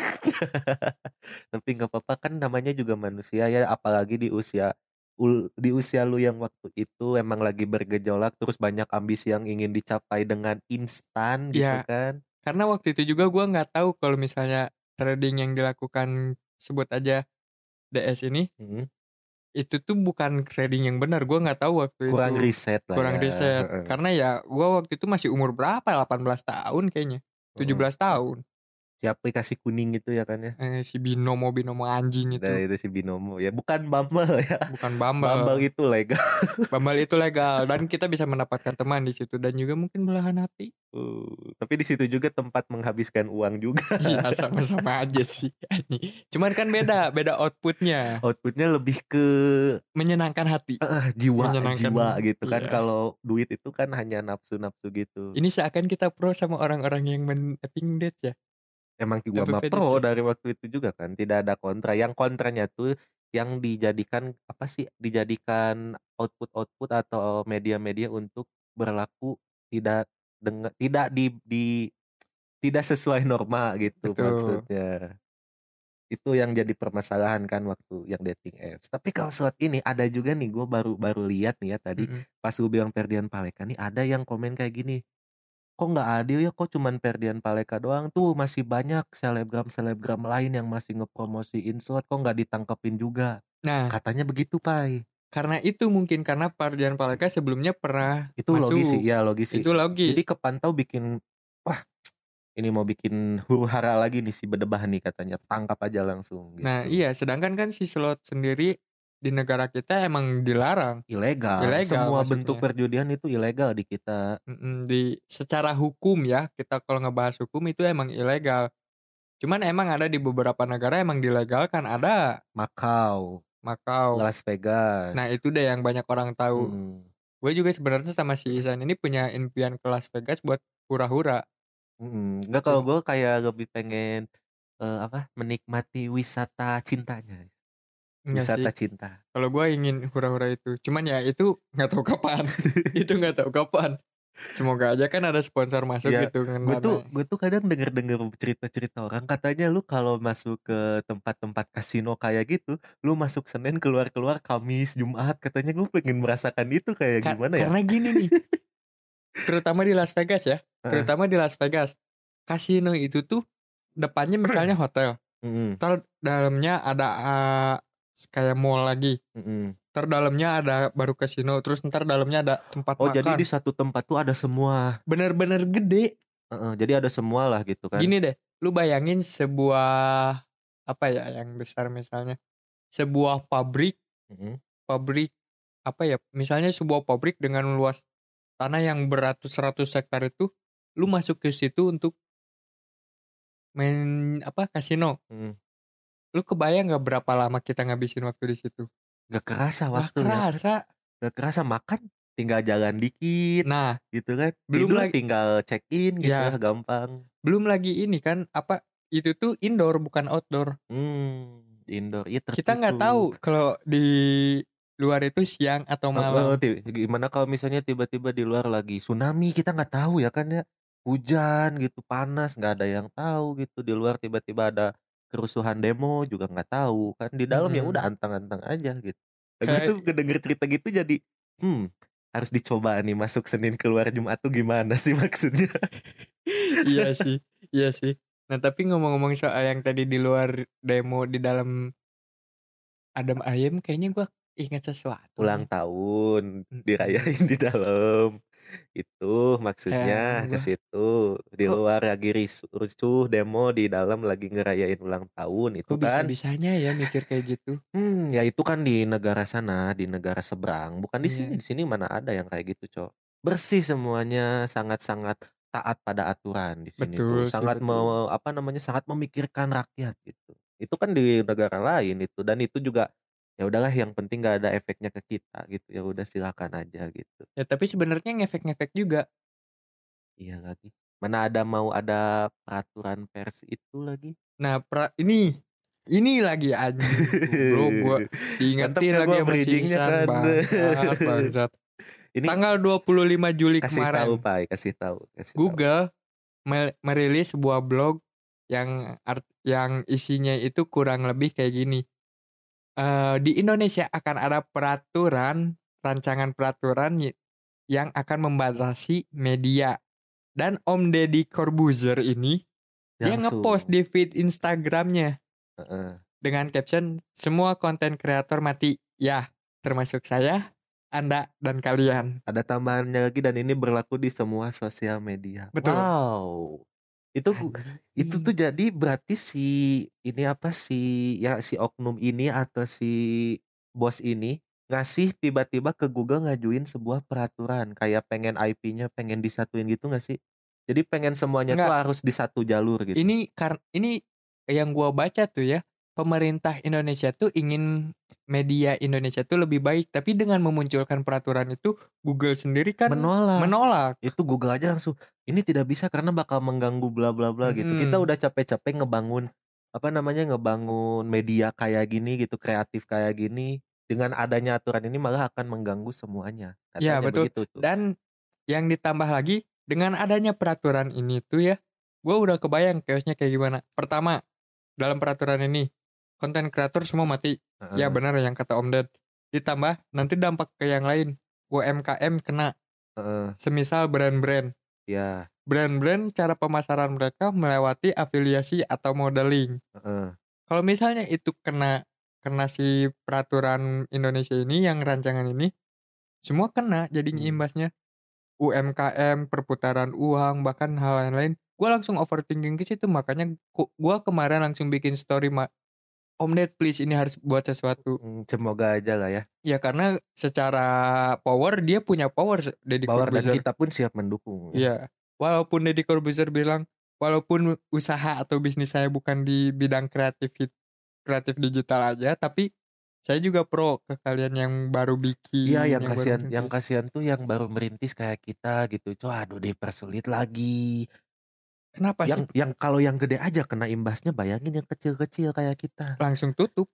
[SPEAKER 5] tapi nggak apa-apa kan namanya juga manusia ya apalagi di usia ul- di usia lu yang waktu itu emang lagi bergejolak terus banyak ambisi yang ingin dicapai dengan instan gitu
[SPEAKER 1] Iya.
[SPEAKER 5] kan
[SPEAKER 1] Karena waktu itu juga gua nggak tahu kalau misalnya trading yang dilakukan sebut aja DS ini
[SPEAKER 5] Mm,
[SPEAKER 1] itu tuh bukan trading yang benar. Gua nggak tahu waktu
[SPEAKER 5] kurang
[SPEAKER 1] itu.
[SPEAKER 5] riset lah
[SPEAKER 1] kurang
[SPEAKER 5] ya.
[SPEAKER 1] riset.
[SPEAKER 5] Heeh.
[SPEAKER 1] Karena ya gua waktu itu masih umur berapa? 18 tahun kayaknya. 17
[SPEAKER 5] Oh.
[SPEAKER 1] tahun.
[SPEAKER 5] Hmm, si aplikasi kuning itu ya kan ya
[SPEAKER 1] Eh, si binomo binomo anjing itu
[SPEAKER 5] Nah, itu si binomo ya bukan Bumble ya
[SPEAKER 1] bukan Bumble.
[SPEAKER 5] Bumble itu legal
[SPEAKER 1] Bumble itu legal dan kita bisa mendapatkan teman di situ dan juga mungkin belahan hati.
[SPEAKER 5] Uh, tapi di situ juga tempat menghabiskan uang juga
[SPEAKER 1] Iya sama-sama aja sih. anjing. Cuman kan beda, beda outputnya.
[SPEAKER 5] outputnya lebih ke
[SPEAKER 1] Menyenangkan hati.
[SPEAKER 5] eh, jiwa
[SPEAKER 1] Menyenangkan.
[SPEAKER 5] jiwa gitu
[SPEAKER 1] Iya.
[SPEAKER 5] kan kalau duit itu kan hanya nafsu nafsu gitu
[SPEAKER 1] Ini seakan kita pro sama orang-orang yang men pink date ya.
[SPEAKER 5] emang gua
[SPEAKER 1] Tapi
[SPEAKER 5] mah
[SPEAKER 1] Fedi
[SPEAKER 5] pro
[SPEAKER 1] sih.
[SPEAKER 5] dari waktu itu juga kan tidak ada kontra yang kontranya tuh yang dijadikan apa sih dijadikan output output atau media-media untuk berlaku tidak dengan tidak di, di- tidak sesuai norma gitu
[SPEAKER 1] Betul.
[SPEAKER 5] maksudnya itu yang jadi permasalahan kan waktu yang dating apps tapi kalau saat ini ada juga nih gue baru baru lihat nih ya tadi
[SPEAKER 1] Mm-mm.
[SPEAKER 5] pas gue bilang Ferdian Paleka nih ada yang komen kayak gini kok nggak adil ya kok cuman Ferdian Paleka doang tuh masih banyak selebgram selebgram lain yang masih ngepromosiin slot kok nggak ditangkepin juga
[SPEAKER 1] Nah,
[SPEAKER 5] katanya begitu pai
[SPEAKER 1] karena itu mungkin karena Pardian Paleka sebelumnya pernah
[SPEAKER 5] itu
[SPEAKER 1] Masuk.
[SPEAKER 5] logis sih ya logis sih
[SPEAKER 1] itu logis.
[SPEAKER 5] jadi kepantau bikin wah ini mau bikin huru hara lagi nih si bedebah nih katanya tangkap aja langsung gitu.
[SPEAKER 1] Nah, iya sedangkan kan si slot sendiri di negara kita emang dilarang
[SPEAKER 5] ilegal.
[SPEAKER 1] Ilegal
[SPEAKER 5] semua
[SPEAKER 1] maksudnya.
[SPEAKER 5] bentuk perjudian itu ilegal di kita
[SPEAKER 1] Mm-mm, di secara hukum ya. Kita kalau ngebahas hukum itu emang ilegal. Cuman emang ada di beberapa negara emang dilegalkan ada
[SPEAKER 5] Makau
[SPEAKER 1] Makau.
[SPEAKER 5] Las Vegas
[SPEAKER 1] Nah, itu deh yang banyak orang tahu.
[SPEAKER 5] Mm.
[SPEAKER 1] Gue juga sebenarnya sama si Isan ini punya impian ke Las Vegas buat hura-hura.
[SPEAKER 5] Mm-mm. Mhm, Enggak kalau gue kayak lebih pengen eh, apa menikmati wisata cintanya,
[SPEAKER 1] Enggak iya sih.
[SPEAKER 5] wisata cinta.
[SPEAKER 1] Kalau gue ingin hura-hura itu. Cuman ya itu nggak tahu kapan. itu nggak tahu kapan. Semoga aja kan ada sponsor masuk
[SPEAKER 5] Ya,
[SPEAKER 1] gitu kan.
[SPEAKER 5] Gue tuh gue tuh kadang denger denger cerita cerita orang katanya lu kalau masuk ke tempat tempat kasino kayak gitu, lu masuk Senin keluar keluar Kamis Jumat katanya gue pengen merasakan itu kayak
[SPEAKER 1] Ka-
[SPEAKER 5] gimana ya?
[SPEAKER 1] Karena gini nih. terutama di Las Vegas ya. Terutama di Las Vegas. Kasino itu tuh depannya misalnya
[SPEAKER 5] Hmm.
[SPEAKER 1] hotel.
[SPEAKER 5] Mm-mm,
[SPEAKER 1] Ntar dalamnya ada eh, kayak mall lagi.
[SPEAKER 5] mm-mm.
[SPEAKER 1] Ntar dalamnya ada baru kasino. Terus ntar dalamnya ada tempat
[SPEAKER 5] Oh
[SPEAKER 1] makan.
[SPEAKER 5] jadi di satu tempat tuh ada semua,
[SPEAKER 1] bener-bener gede.
[SPEAKER 5] Heeh, jadi ada semua lah gitu kan?
[SPEAKER 1] Gini deh, lu bayangin sebuah apa ya yang besar misalnya sebuah pabrik,
[SPEAKER 5] Mm-mm.
[SPEAKER 1] pabrik apa ya? Misalnya sebuah pabrik dengan luas tanah yang beratus-ratus hektar itu, lu masuk ke situ untuk main apa kasino.
[SPEAKER 5] Mm.
[SPEAKER 1] Lu kebayang nggak berapa lama kita ngabisin waktu di situ?
[SPEAKER 5] Gak kerasa
[SPEAKER 1] Wah,
[SPEAKER 5] waktu, ya,
[SPEAKER 1] kerasa.
[SPEAKER 5] gak kerasa makan tinggal jalan dikit
[SPEAKER 1] Nah,
[SPEAKER 5] gitu kan
[SPEAKER 1] Belum
[SPEAKER 5] Tidur
[SPEAKER 1] lagi-
[SPEAKER 5] tinggal check in gitu
[SPEAKER 1] Ya.
[SPEAKER 5] lah gampang
[SPEAKER 1] belum lagi ini kan apa itu tuh indoor bukan outdoor.
[SPEAKER 5] hmm indoor ya
[SPEAKER 1] kita nggak
[SPEAKER 5] tertutup.
[SPEAKER 1] tahu kalau di luar itu siang atau
[SPEAKER 5] Oh,
[SPEAKER 1] malam
[SPEAKER 5] oh, ti- gimana kalau misalnya tiba-tiba di luar lagi tsunami kita nggak tahu ya kan ya hujan gitu panas nggak ada yang tahu gitu di luar tiba-tiba ada kerusuhan demo juga nggak tahu kan di dalam ya
[SPEAKER 1] Mm-mm.
[SPEAKER 5] udah antang-antang aja gitu Gue
[SPEAKER 1] Hmm. Kayak-
[SPEAKER 5] tuh kedenger cerita gitu jadi hmm harus dicoba nih masuk Senin keluar Jumat tuh gimana sih maksudnya
[SPEAKER 1] iya sih iya sih nah tapi ngomong-ngomong soal yang tadi di luar demo di dalam Adam Ayem kayaknya gua ingat sesuatu
[SPEAKER 5] ulang tahun
[SPEAKER 1] Mm-mm.
[SPEAKER 5] dirayain di dalam itu maksudnya
[SPEAKER 1] Kayak
[SPEAKER 5] ke
[SPEAKER 1] gua-
[SPEAKER 5] situ di
[SPEAKER 1] Kok-
[SPEAKER 5] luar lagi risu- rusuh demo di dalam lagi ngerayain ulang tahun itu
[SPEAKER 1] kok
[SPEAKER 5] kan
[SPEAKER 1] bisa bisanya ya mikir kayak gitu
[SPEAKER 5] hmm ya itu kan di negara sana di negara seberang bukan di
[SPEAKER 1] Iya.
[SPEAKER 5] sini di sini mana ada yang kayak gitu cok bersih semuanya sangat-sangat taat pada aturan di sini
[SPEAKER 1] Betul
[SPEAKER 5] tuh
[SPEAKER 1] sih,
[SPEAKER 5] sangat
[SPEAKER 1] betul.
[SPEAKER 5] me- apa namanya sangat memikirkan rakyat gitu itu kan di negara lain itu dan itu juga ya udahlah yang penting gak ada efeknya ke kita gitu ya udah silakan aja gitu
[SPEAKER 1] ya tapi sebenarnya ngefek-ngefek juga
[SPEAKER 5] iya lagi mana ada mau ada peraturan pers itu lagi
[SPEAKER 1] nah pra- ini ini lagi aja bro gua
[SPEAKER 5] Mantap
[SPEAKER 1] diingetin
[SPEAKER 5] ya
[SPEAKER 1] lagi
[SPEAKER 5] gua
[SPEAKER 1] sama si
[SPEAKER 5] bridgingnya
[SPEAKER 1] Ihsan
[SPEAKER 5] kan.
[SPEAKER 1] bangsat bangsat
[SPEAKER 5] ini
[SPEAKER 1] tanggal 25 Juli
[SPEAKER 5] kasih
[SPEAKER 1] kemarin
[SPEAKER 5] tahu pak kasih tahu kasih tahu.
[SPEAKER 1] Google mel- merilis sebuah blog yang art yang isinya itu kurang lebih kayak gini. Eh, di Indonesia akan ada peraturan, rancangan peraturan y- yang akan membatasi media. Dan Om Deddy Corbuzier ini dia
[SPEAKER 5] Langsung.
[SPEAKER 1] ngepost di feed Instagramnya
[SPEAKER 5] Heeh.
[SPEAKER 1] dengan caption semua konten kreator mati ya termasuk saya anda dan kalian
[SPEAKER 5] ada tambahannya lagi dan ini berlaku di semua sosial media
[SPEAKER 1] Betul. Nah,
[SPEAKER 5] wow itu itu tuh jadi berarti si ini apa si ya si oknum ini atau si bos ini ngasih tiba-tiba ke Google ngajuin sebuah peraturan kayak pengen IP-nya pengen disatuin gitu nggak sih jadi pengen semuanya tuh harus di satu jalur gitu
[SPEAKER 1] ini karena ini yang gua baca tuh ya pemerintah Indonesia tuh ingin media Indonesia tuh lebih baik tapi dengan memunculkan peraturan itu Google sendiri kan
[SPEAKER 5] menolak
[SPEAKER 1] menolak.
[SPEAKER 5] itu Google aja langsung ini tidak bisa karena bakal mengganggu bla bla bla gitu.
[SPEAKER 1] Mm-mm.
[SPEAKER 5] Kita udah capek-capek ngebangun apa namanya ngebangun media kayak gini gitu, kreatif kayak gini. Dengan adanya aturan ini malah akan mengganggu semuanya.
[SPEAKER 1] Ya,
[SPEAKER 5] Katanya
[SPEAKER 1] betul.
[SPEAKER 5] begitu tuh.
[SPEAKER 1] dan yang ditambah lagi dengan adanya peraturan ini tuh ya gua udah kebayang chaosnya kayak gimana pertama dalam peraturan ini konten kreator semua mati
[SPEAKER 5] Heeh.
[SPEAKER 1] Ya benar yang kata Om Ded. Ditambah nanti dampak ke yang lain. UMKM kena.
[SPEAKER 5] Heeh.
[SPEAKER 1] Semisal brand-brand.
[SPEAKER 5] ya.
[SPEAKER 1] Brand-brand cara pemasaran mereka melewati afiliasi atau modeling.
[SPEAKER 5] Heeh.
[SPEAKER 1] Kalau misalnya itu kena kena si peraturan Indonesia ini yang rancangan ini semua kena jadinya
[SPEAKER 5] Hmm.
[SPEAKER 1] imbasnya UMKM, perputaran uang, bahkan hal lain-lain. Gue langsung overthinking ke situ makanya gue kemarin langsung bikin story ma Om Ded please ini harus buat sesuatu.
[SPEAKER 5] Mm, Semoga aja lah ya.
[SPEAKER 1] Ya karena secara power dia punya power Deddy
[SPEAKER 5] Power dan
[SPEAKER 1] Corbuzier.
[SPEAKER 5] kita pun siap mendukung. ya.
[SPEAKER 1] Iya. Walaupun Deddy Corbuzier bilang walaupun usaha atau bisnis saya bukan di bidang kreatif kreatif digital aja tapi saya juga pro ke kalian yang baru bikin.
[SPEAKER 5] Iya yang
[SPEAKER 1] baru
[SPEAKER 5] kasihan yang
[SPEAKER 1] merintis.
[SPEAKER 5] kasihan tuh yang baru merintis kayak kita gitu. Cok aduh dipersulit lagi.
[SPEAKER 1] Kenapa
[SPEAKER 5] Yang
[SPEAKER 1] sih
[SPEAKER 5] yang kalau yang gede aja kena imbasnya bayangin yang kecil-kecil kayak kita.
[SPEAKER 1] langsung tutup,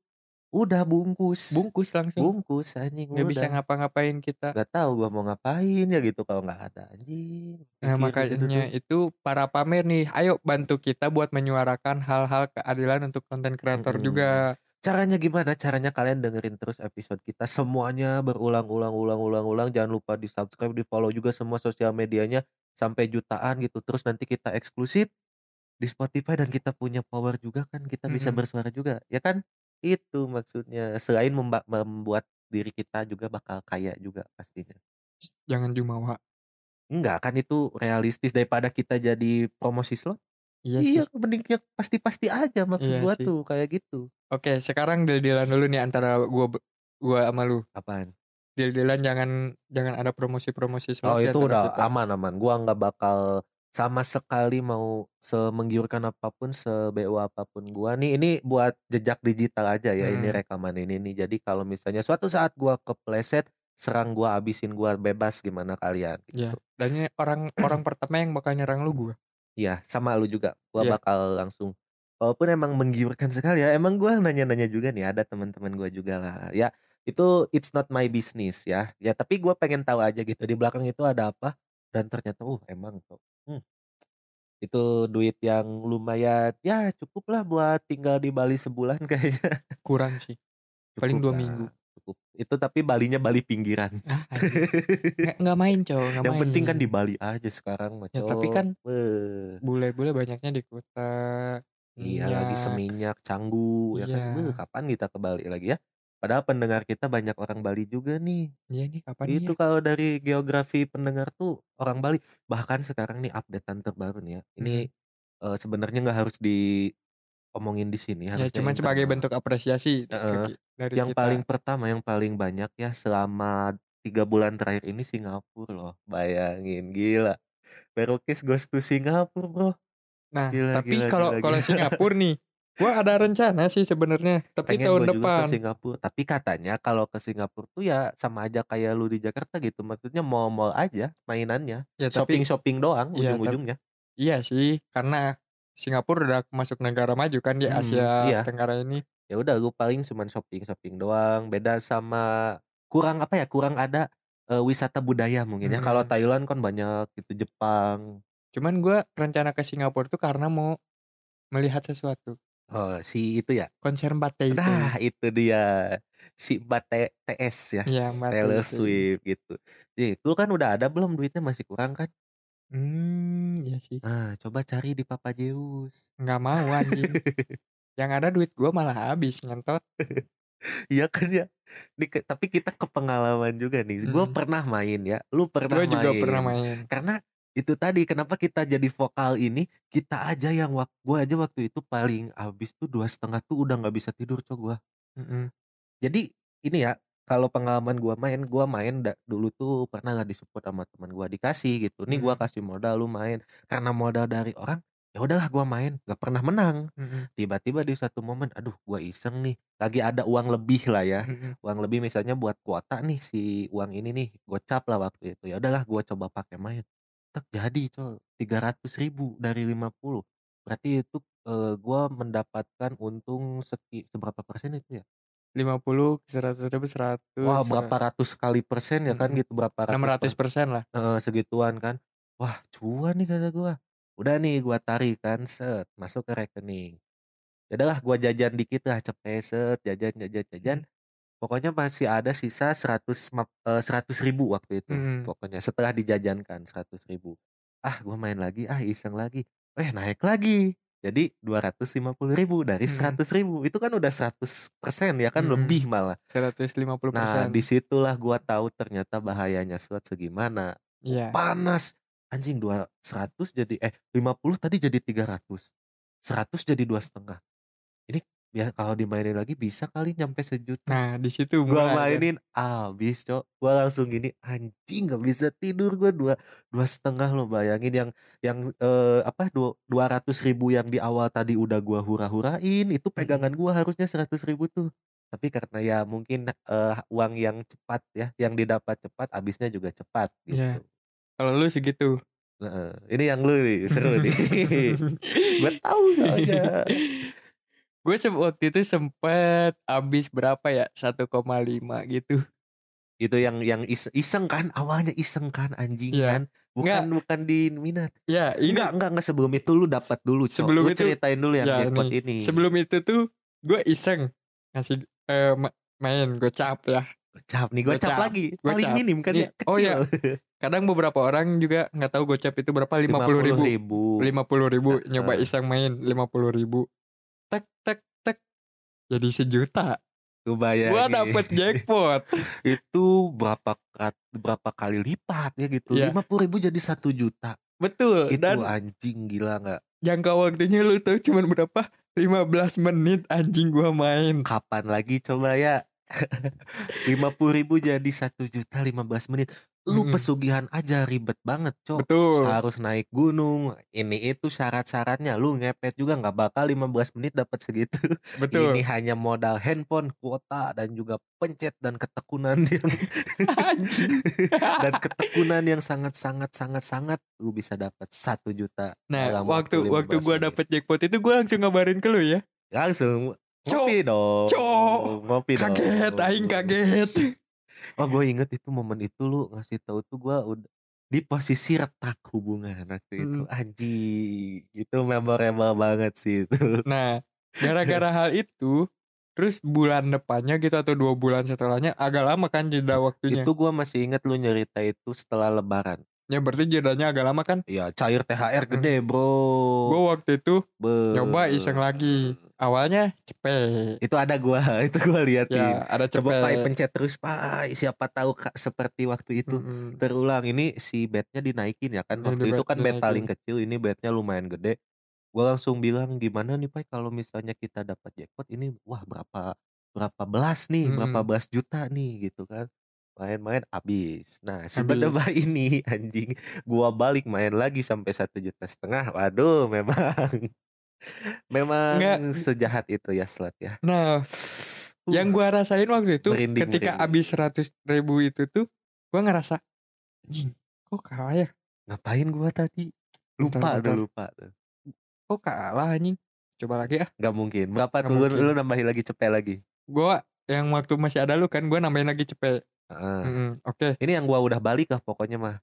[SPEAKER 5] Udah bungkus.
[SPEAKER 1] bungkus langsung.
[SPEAKER 5] bungkus anjing
[SPEAKER 1] nggak bisa ngapa-ngapain kita.
[SPEAKER 5] nggak tahu gua mau ngapain ya gitu kalau nggak ada anjing gitu,
[SPEAKER 1] Nah,
[SPEAKER 5] Mikir di situ
[SPEAKER 1] makanya
[SPEAKER 5] tuh.
[SPEAKER 1] itu para pamer nih, ayo bantu kita buat menyuarakan hal-hal keadilan untuk konten kreator
[SPEAKER 5] Mm-mm.
[SPEAKER 1] juga.
[SPEAKER 5] caranya gimana caranya kalian dengerin terus episode kita semuanya berulang-ulang ulang-ulang ulang jangan lupa di subscribe di follow juga semua sosial medianya sampai jutaan gitu terus nanti kita eksklusif di Spotify dan kita punya power juga kan kita bisa
[SPEAKER 1] Mm-mm.
[SPEAKER 5] bersuara juga ya kan itu maksudnya selain memba- membuat diri kita juga bakal kaya juga pastinya
[SPEAKER 1] Jangan jumawa.
[SPEAKER 5] enggak kan itu realistis daripada kita jadi promosi slot
[SPEAKER 1] Iya, sih.
[SPEAKER 5] Iya, mending yang pasti-pasti aja maksud
[SPEAKER 1] Iya
[SPEAKER 5] gua
[SPEAKER 1] sih.
[SPEAKER 5] tuh kayak gitu.
[SPEAKER 1] Oke, sekarang deal-dealan dulu nih antara gua be- gua sama lu.
[SPEAKER 5] Apaan?
[SPEAKER 1] Deal-dealan jangan jangan ada promosi-promosi slot
[SPEAKER 5] Oh,
[SPEAKER 1] di
[SPEAKER 5] itu
[SPEAKER 1] antara
[SPEAKER 5] udah
[SPEAKER 1] kita.
[SPEAKER 5] aman-aman. Gua nggak bakal sama sekali mau semenggiurkan apapun, sebeo apapun gua nih. Ini buat jejak digital aja ya. Ini
[SPEAKER 1] Hmm.
[SPEAKER 5] rekaman ini nih. Jadi kalau misalnya suatu saat gua kepleset, serang gua abisin gua bebas gimana kalian.
[SPEAKER 1] Iya.
[SPEAKER 5] gitu.
[SPEAKER 1] Dan ini orang orang pertama yang bakal nyerang lu gua.
[SPEAKER 5] Iya, sama lu juga. Gua
[SPEAKER 1] Iya.
[SPEAKER 5] bakal langsung Walaupun emang menggiurkan sekali ya, emang gua nanya-nanya juga nih ada teman-teman gua juga lah. Ya, itu it's not my business ya. Ya, tapi gua pengen tahu aja gitu di belakang itu ada apa dan ternyata uh emang kok. Hmm. Itu duit yang lumayan ya cukup lah buat tinggal di Bali sebulan kayaknya.
[SPEAKER 1] Kurang sih. Paling
[SPEAKER 5] Cukup
[SPEAKER 1] dua
[SPEAKER 5] lah,
[SPEAKER 1] minggu.
[SPEAKER 5] Cukup. Itu tapi Balinya Bali pinggiran.
[SPEAKER 1] Ah, anjing. nggak nggak main, cowok, nggak
[SPEAKER 5] yang
[SPEAKER 1] main.
[SPEAKER 5] penting kan di Bali aja sekarang maco.
[SPEAKER 1] Ya, tapi kan-
[SPEAKER 5] Beuh.
[SPEAKER 1] bule-bule banyaknya di kota. Minyak.
[SPEAKER 5] Iya lagi seminyak, canggu, ya kan?
[SPEAKER 1] Iya.
[SPEAKER 5] Beuh, kapan kita ke Bali lagi ya? Padahal pendengar kita banyak orang Bali juga nih.
[SPEAKER 1] Iya nih kapan nih
[SPEAKER 5] itu
[SPEAKER 1] ya?
[SPEAKER 5] kalau dari geografi pendengar tuh orang Bali. Bahkan sekarang nih updatean terbaru nih ya. Ini
[SPEAKER 1] Hmm.
[SPEAKER 5] eh, sebenarnya nggak harus diomongin di sini.
[SPEAKER 1] Ya
[SPEAKER 5] kan harusnya
[SPEAKER 1] cuman sebagai
[SPEAKER 5] internal.
[SPEAKER 1] bentuk apresiasi dari
[SPEAKER 5] Heeh.
[SPEAKER 1] ki- dari
[SPEAKER 5] Yang
[SPEAKER 1] kita.
[SPEAKER 5] paling pertama, yang paling banyak ya selama tiga bulan terakhir ini Singapura loh. Bayangin gila. Berokis goes to Singapura bro.
[SPEAKER 1] Nah,
[SPEAKER 5] Gila,
[SPEAKER 1] tapi
[SPEAKER 5] gila,
[SPEAKER 1] kalau
[SPEAKER 5] gila,
[SPEAKER 1] kalau
[SPEAKER 5] gila.
[SPEAKER 1] Singapura nih, gua ada rencana sih sebenarnya, tapi
[SPEAKER 5] pengen
[SPEAKER 1] tahun
[SPEAKER 5] gua juga
[SPEAKER 1] depan.
[SPEAKER 5] ke Singapura tapi katanya kalau ke Singapura tuh ya sama aja kayak lu di Jakarta gitu maksudnya mall-mall aja mainannya
[SPEAKER 1] Ya, tapi
[SPEAKER 5] shopping shopping doang
[SPEAKER 1] Iya,
[SPEAKER 5] ujung-ujungnya
[SPEAKER 1] Iya sih, karena Singapura udah masuk negara maju kan di
[SPEAKER 5] Hmm,
[SPEAKER 1] Asia
[SPEAKER 5] iya.
[SPEAKER 1] Tenggara ini.
[SPEAKER 5] ya udah lu paling cuman shopping shopping doang beda sama kurang apa ya kurang ada eh, wisata budaya mungkin ya kalau
[SPEAKER 1] Hmm.
[SPEAKER 5] Thailand kan banyak gitu Jepang
[SPEAKER 1] Cuman gue rencana ke Singapura tuh karena mau melihat sesuatu.
[SPEAKER 5] Oh, si itu ya.
[SPEAKER 1] Konser Mbate itu.
[SPEAKER 5] Nah, itu dia. Si Mbak T- TS ya.
[SPEAKER 1] Iya, Mbate
[SPEAKER 5] Taylor
[SPEAKER 1] itu.
[SPEAKER 5] Swift gitu. Jadi itu kan udah ada belum duitnya masih kurang kan?
[SPEAKER 1] Hmm, iya sih.
[SPEAKER 5] Ah, coba cari di Papa Zeus.
[SPEAKER 1] Nggak mau anjing. Yang ada duit gue malah habis ngentot.
[SPEAKER 5] Iya kan ya. Di- ke- tapi kita ke pengalaman juga nih. Gue
[SPEAKER 1] Mm.
[SPEAKER 5] pernah main ya. Lu pernah
[SPEAKER 1] Gue
[SPEAKER 5] main.
[SPEAKER 1] juga pernah main.
[SPEAKER 5] Karena itu tadi kenapa kita jadi vokal ini kita aja yang wak gue aja waktu itu paling abis tuh dua setengah tuh udah nggak bisa tidur cowok gue
[SPEAKER 1] Mm-mm.
[SPEAKER 5] jadi ini ya kalau pengalaman gua main gua main da- dulu tuh pernah nggak disupport sama teman gua dikasih gitu nih gua
[SPEAKER 1] Mm-mm.
[SPEAKER 5] kasih modal lu main karena modal dari orang ya udahlah gua main nggak pernah menang
[SPEAKER 1] Mm-mm.
[SPEAKER 5] tiba-tiba di suatu momen aduh gua iseng nih lagi ada uang lebih lah ya
[SPEAKER 1] Mm-mm.
[SPEAKER 5] uang lebih misalnya buat kuota nih si uang ini nih gocap lah waktu itu ya udahlah gua coba pakai main tak jadi col tiga ribu dari 50 berarti itu eh, gua mendapatkan untung seki, seberapa persen itu ya
[SPEAKER 1] 50 ke 100 ribu 100.
[SPEAKER 5] Wah berapa ratus kali persen ya kan
[SPEAKER 1] Mm-mm.
[SPEAKER 5] gitu berapa
[SPEAKER 1] 600
[SPEAKER 5] ratus per-
[SPEAKER 1] persen lah.
[SPEAKER 5] eh, segituan kan Wah cuan nih kata gua Udah nih gua tarik kan set masuk ke rekening Jadalah gua jajan dikit lah cepet set jajan jajan jajan Pokoknya masih ada sisa 100, map- eh, 100 ribu waktu itu
[SPEAKER 1] Mm-mm.
[SPEAKER 5] Pokoknya setelah dijajankan 100 ribu Ah gua main lagi ah iseng lagi Eh naik lagi jadi 250 ribu dari
[SPEAKER 1] Mm-mm.
[SPEAKER 5] 100 ribu itu kan udah 100 persen ya kan
[SPEAKER 1] Mm-mm.
[SPEAKER 5] lebih malah
[SPEAKER 1] 150 persen.
[SPEAKER 5] Nah disitulah gua tahu ternyata bahayanya slot segimana
[SPEAKER 1] Iya.
[SPEAKER 5] Panas Anjing dua- 100 jadi eh 50 tadi jadi 300 100 jadi dua setengah Ini ya kalau dimainin lagi bisa kali nyampe sejuta
[SPEAKER 1] Nah, di situ mulai
[SPEAKER 5] Gua
[SPEAKER 1] kan.
[SPEAKER 5] mainin abis cok Gua langsung gini anjing gak bisa tidur gua dua, dua setengah lo bayangin yang yang eh, apa dua, 200 ribu yang di awal tadi udah gua hura-hurain Itu pegangan gua harusnya 100 ribu tuh tapi karena ya mungkin eh, uang yang cepat ya yang didapat cepat habisnya juga cepat gitu
[SPEAKER 1] Iya. Kalau lu segitu.
[SPEAKER 5] Heeh. ini yang lu nih, seru nih gue tahu soalnya
[SPEAKER 1] gue waktu itu sempet habis berapa ya 1,5 gitu
[SPEAKER 5] itu yang yang is- iseng kan awalnya iseng kan anjing
[SPEAKER 1] Iya.
[SPEAKER 5] kan bukan bukan di minat
[SPEAKER 1] ya ini
[SPEAKER 5] enggak enggak enggak sebelum itu lu dapat dulu Cok.
[SPEAKER 1] Sebelum
[SPEAKER 5] Lu
[SPEAKER 1] itu-
[SPEAKER 5] ceritain dulu yang
[SPEAKER 1] Ya,
[SPEAKER 5] jackpot
[SPEAKER 1] ini.
[SPEAKER 5] ini,
[SPEAKER 1] sebelum itu tuh gue iseng ngasih eh, ma- main gocap ya
[SPEAKER 5] gocap nih gocap,
[SPEAKER 1] Gocap.
[SPEAKER 5] lagi
[SPEAKER 1] Gocap.
[SPEAKER 5] paling minim kan ya
[SPEAKER 1] Iya. Oh, iya. kadang beberapa orang juga nggak tahu gocap itu berapa 50 ribu 50 ribu
[SPEAKER 5] Heeh.
[SPEAKER 1] nyoba iseng main 50 ribu tek tek tek jadi sejuta
[SPEAKER 5] Lu bayangin.
[SPEAKER 1] gue dapet jackpot
[SPEAKER 5] itu berapa kat- berapa kali lipat ya gitu
[SPEAKER 1] Iya.
[SPEAKER 5] lima puluh ribu jadi satu juta
[SPEAKER 1] betul
[SPEAKER 5] itu
[SPEAKER 1] dan
[SPEAKER 5] anjing gila nggak
[SPEAKER 1] jangka waktunya lu tahu cuman berapa 15 menit anjing gua main
[SPEAKER 5] kapan lagi coba ya lima puluh ribu jadi satu juta lima belas menit lu
[SPEAKER 1] Mm-mm.
[SPEAKER 5] pesugihan aja ribet banget cok
[SPEAKER 1] betul
[SPEAKER 5] harus naik gunung ini itu syarat-syaratnya lu ngepet juga nggak bakal 15 menit dapat segitu
[SPEAKER 1] betul
[SPEAKER 5] ini hanya modal handphone kuota dan juga pencet dan ketekunan yang
[SPEAKER 1] Anjing.
[SPEAKER 5] dan ketekunan yang sangat sangat sangat sangat lu bisa dapat satu juta
[SPEAKER 1] Nah,
[SPEAKER 5] dalam
[SPEAKER 1] waktu waktu
[SPEAKER 5] 15
[SPEAKER 1] gua
[SPEAKER 5] menit.
[SPEAKER 1] dapet jackpot itu gua langsung ngabarin ke lu ya.
[SPEAKER 5] langsung
[SPEAKER 1] Cok,
[SPEAKER 5] ngopi dong
[SPEAKER 1] cok,
[SPEAKER 5] ngopi dong.
[SPEAKER 1] Kaget, aing kaget.
[SPEAKER 5] oh gue inget itu momen itu lu ngasih tahu tuh gua udah di posisi retak hubungan waktu itu
[SPEAKER 1] Hmm.
[SPEAKER 5] anjing itu memorable banget sih itu
[SPEAKER 1] Nah, gara-gara hal itu terus bulan depannya gitu atau dua bulan setelahnya agak lama kan jeda waktunya.
[SPEAKER 5] Itu gua masih ingat lu nyerita itu setelah lebaran.
[SPEAKER 1] Ya berarti jedanya agak lama kan.
[SPEAKER 5] Ya cair THR gede bro. Oh,
[SPEAKER 1] Gua waktu itu
[SPEAKER 5] Be-
[SPEAKER 1] nyoba iseng lagi. Awalnya cepet.
[SPEAKER 5] Itu ada gua, itu gua liatin.
[SPEAKER 1] Ya, ada
[SPEAKER 5] Iya, Coba Pai
[SPEAKER 1] cepet.
[SPEAKER 5] pencet terus Pai. Siapa tahu Kak, seperti waktu itu
[SPEAKER 1] Mm-mm.
[SPEAKER 5] terulang. Ini si bednya dinaikin ya kan.
[SPEAKER 1] Ini
[SPEAKER 5] Waktu
[SPEAKER 1] di
[SPEAKER 5] itu
[SPEAKER 1] bet
[SPEAKER 5] kan bed
[SPEAKER 1] dinaikin.
[SPEAKER 5] paling kecil, ini bednya lumayan gede. Gua langsung bilang gimana nih Pai kalau misalnya kita dapat jackpot ini wah berapa berapa belas nih,
[SPEAKER 1] Mm-mm.
[SPEAKER 5] berapa belas juta nih gitu kan. Main-main abis. Nah,
[SPEAKER 1] Habis.
[SPEAKER 5] sebenarnya ini anjing gua balik main lagi sampai satu juta setengah. Waduh, memang memang
[SPEAKER 1] Nggak.
[SPEAKER 5] sejahat itu ya slot ya.
[SPEAKER 1] Nah,
[SPEAKER 5] Uh,
[SPEAKER 1] yang gua rasain waktu itu
[SPEAKER 5] merinding,
[SPEAKER 1] ketika
[SPEAKER 5] merinding.
[SPEAKER 1] habis 100 ribu itu tuh gua ngerasa anjing kok kalah ya
[SPEAKER 5] ngapain gua tadi? Lupa
[SPEAKER 1] Bentar,
[SPEAKER 5] tuh
[SPEAKER 1] bentar.
[SPEAKER 5] lupa tuh.
[SPEAKER 1] kok kalah anjing coba lagi ah
[SPEAKER 5] Gak mungkin. Berapa
[SPEAKER 1] Nggak
[SPEAKER 5] tuh lu,
[SPEAKER 1] mungkin.
[SPEAKER 5] lu nambahin lagi cepet lagi?
[SPEAKER 1] gua yang waktu masih ada lu kan gua nambahin lagi cepet
[SPEAKER 5] Heeh.
[SPEAKER 1] Mm-mm, oke
[SPEAKER 5] Ini yang gua udah balik lah pokoknya mah.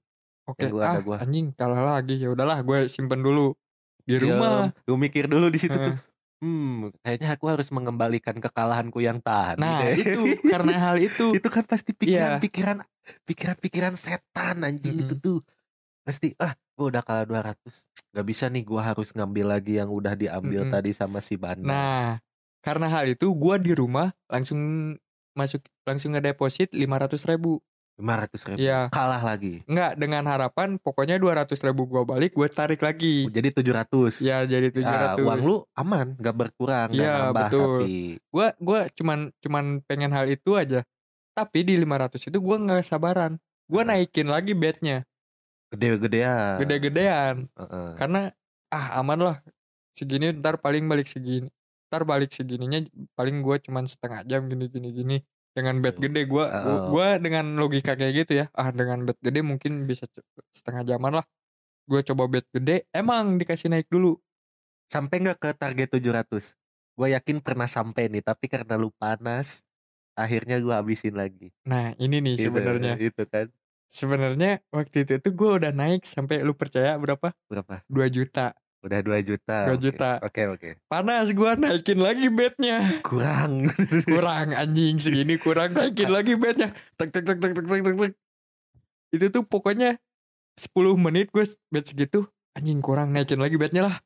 [SPEAKER 1] Oke,
[SPEAKER 5] Yang gua
[SPEAKER 1] ah
[SPEAKER 5] ada gua.
[SPEAKER 1] anjing kalah lagi. Ya udahlah, gue simpen dulu
[SPEAKER 5] Iya,
[SPEAKER 1] di rumah.
[SPEAKER 5] Diam. Gua mikir dulu di situ
[SPEAKER 1] Heeh.
[SPEAKER 5] tuh. Hmm, kayaknya aku harus mengembalikan kekalahanku yang tadi.
[SPEAKER 1] Nah,
[SPEAKER 5] deh."
[SPEAKER 1] itu karena hal itu.
[SPEAKER 5] itu kan pasti
[SPEAKER 1] Iya.
[SPEAKER 5] pikiran-pikiran pikiran-pikiran setan anjing itu tuh pasti ah gue udah kalah 200 nggak bisa nih gue harus ngambil lagi yang udah diambil
[SPEAKER 1] Mm-mm.
[SPEAKER 5] tadi sama si Banda
[SPEAKER 1] Nah, karena hal itu gue di rumah langsung masuk langsung ngedeposit 500 ribu.
[SPEAKER 5] 500 ribu
[SPEAKER 1] Iya.
[SPEAKER 5] kalah lagi
[SPEAKER 1] Enggak, dengan harapan pokoknya 200 ribu gue balik, gue tarik lagi.
[SPEAKER 5] jadi 700
[SPEAKER 1] Ya jadi 700.
[SPEAKER 5] Ah, uang lu aman gak berkurang nggak
[SPEAKER 1] Iya,
[SPEAKER 5] nambah
[SPEAKER 1] betul.
[SPEAKER 5] tapi
[SPEAKER 1] Gue gua cuman cuman pengen hal itu aja. Tapi di 500 itu gue nggak sabaran. Gue
[SPEAKER 5] Hmm.
[SPEAKER 1] naikin lagi bednya,
[SPEAKER 5] gede-gedean
[SPEAKER 1] gede-gedean.
[SPEAKER 5] Heeh.
[SPEAKER 1] karena ah aman lah segini ntar paling balik segini ntar balik segininya paling gua cuman setengah jam gini gini gini dengan bed gede gua gua-
[SPEAKER 5] Oh.
[SPEAKER 1] gua dengan logika kayak gitu ya ah dengan bed gede mungkin bisa c- setengah jaman lah gue coba bed gede emang dikasih naik dulu
[SPEAKER 5] sampai nggak ke target 700 gue yakin pernah sampai nih tapi karena lu panas akhirnya gue habisin lagi
[SPEAKER 1] nah ini nih
[SPEAKER 5] Gitu,
[SPEAKER 1] sebenarnya
[SPEAKER 5] itu kan
[SPEAKER 1] sebenarnya waktu itu tuh gua udah naik sampai lu percaya berapa
[SPEAKER 5] berapa
[SPEAKER 1] 2 juta
[SPEAKER 5] udah 2 juta
[SPEAKER 1] 2
[SPEAKER 5] oke.
[SPEAKER 1] juta.
[SPEAKER 5] oke oke
[SPEAKER 1] panas gua naikin lagi bednya
[SPEAKER 5] kurang
[SPEAKER 1] kurang anjing segini kurang naikin lagi bednya tek tek tek tek tek tek tek tek. itu tuh pokoknya 10 menit gue bed segitu anjing kurang naikin lagi bednya lah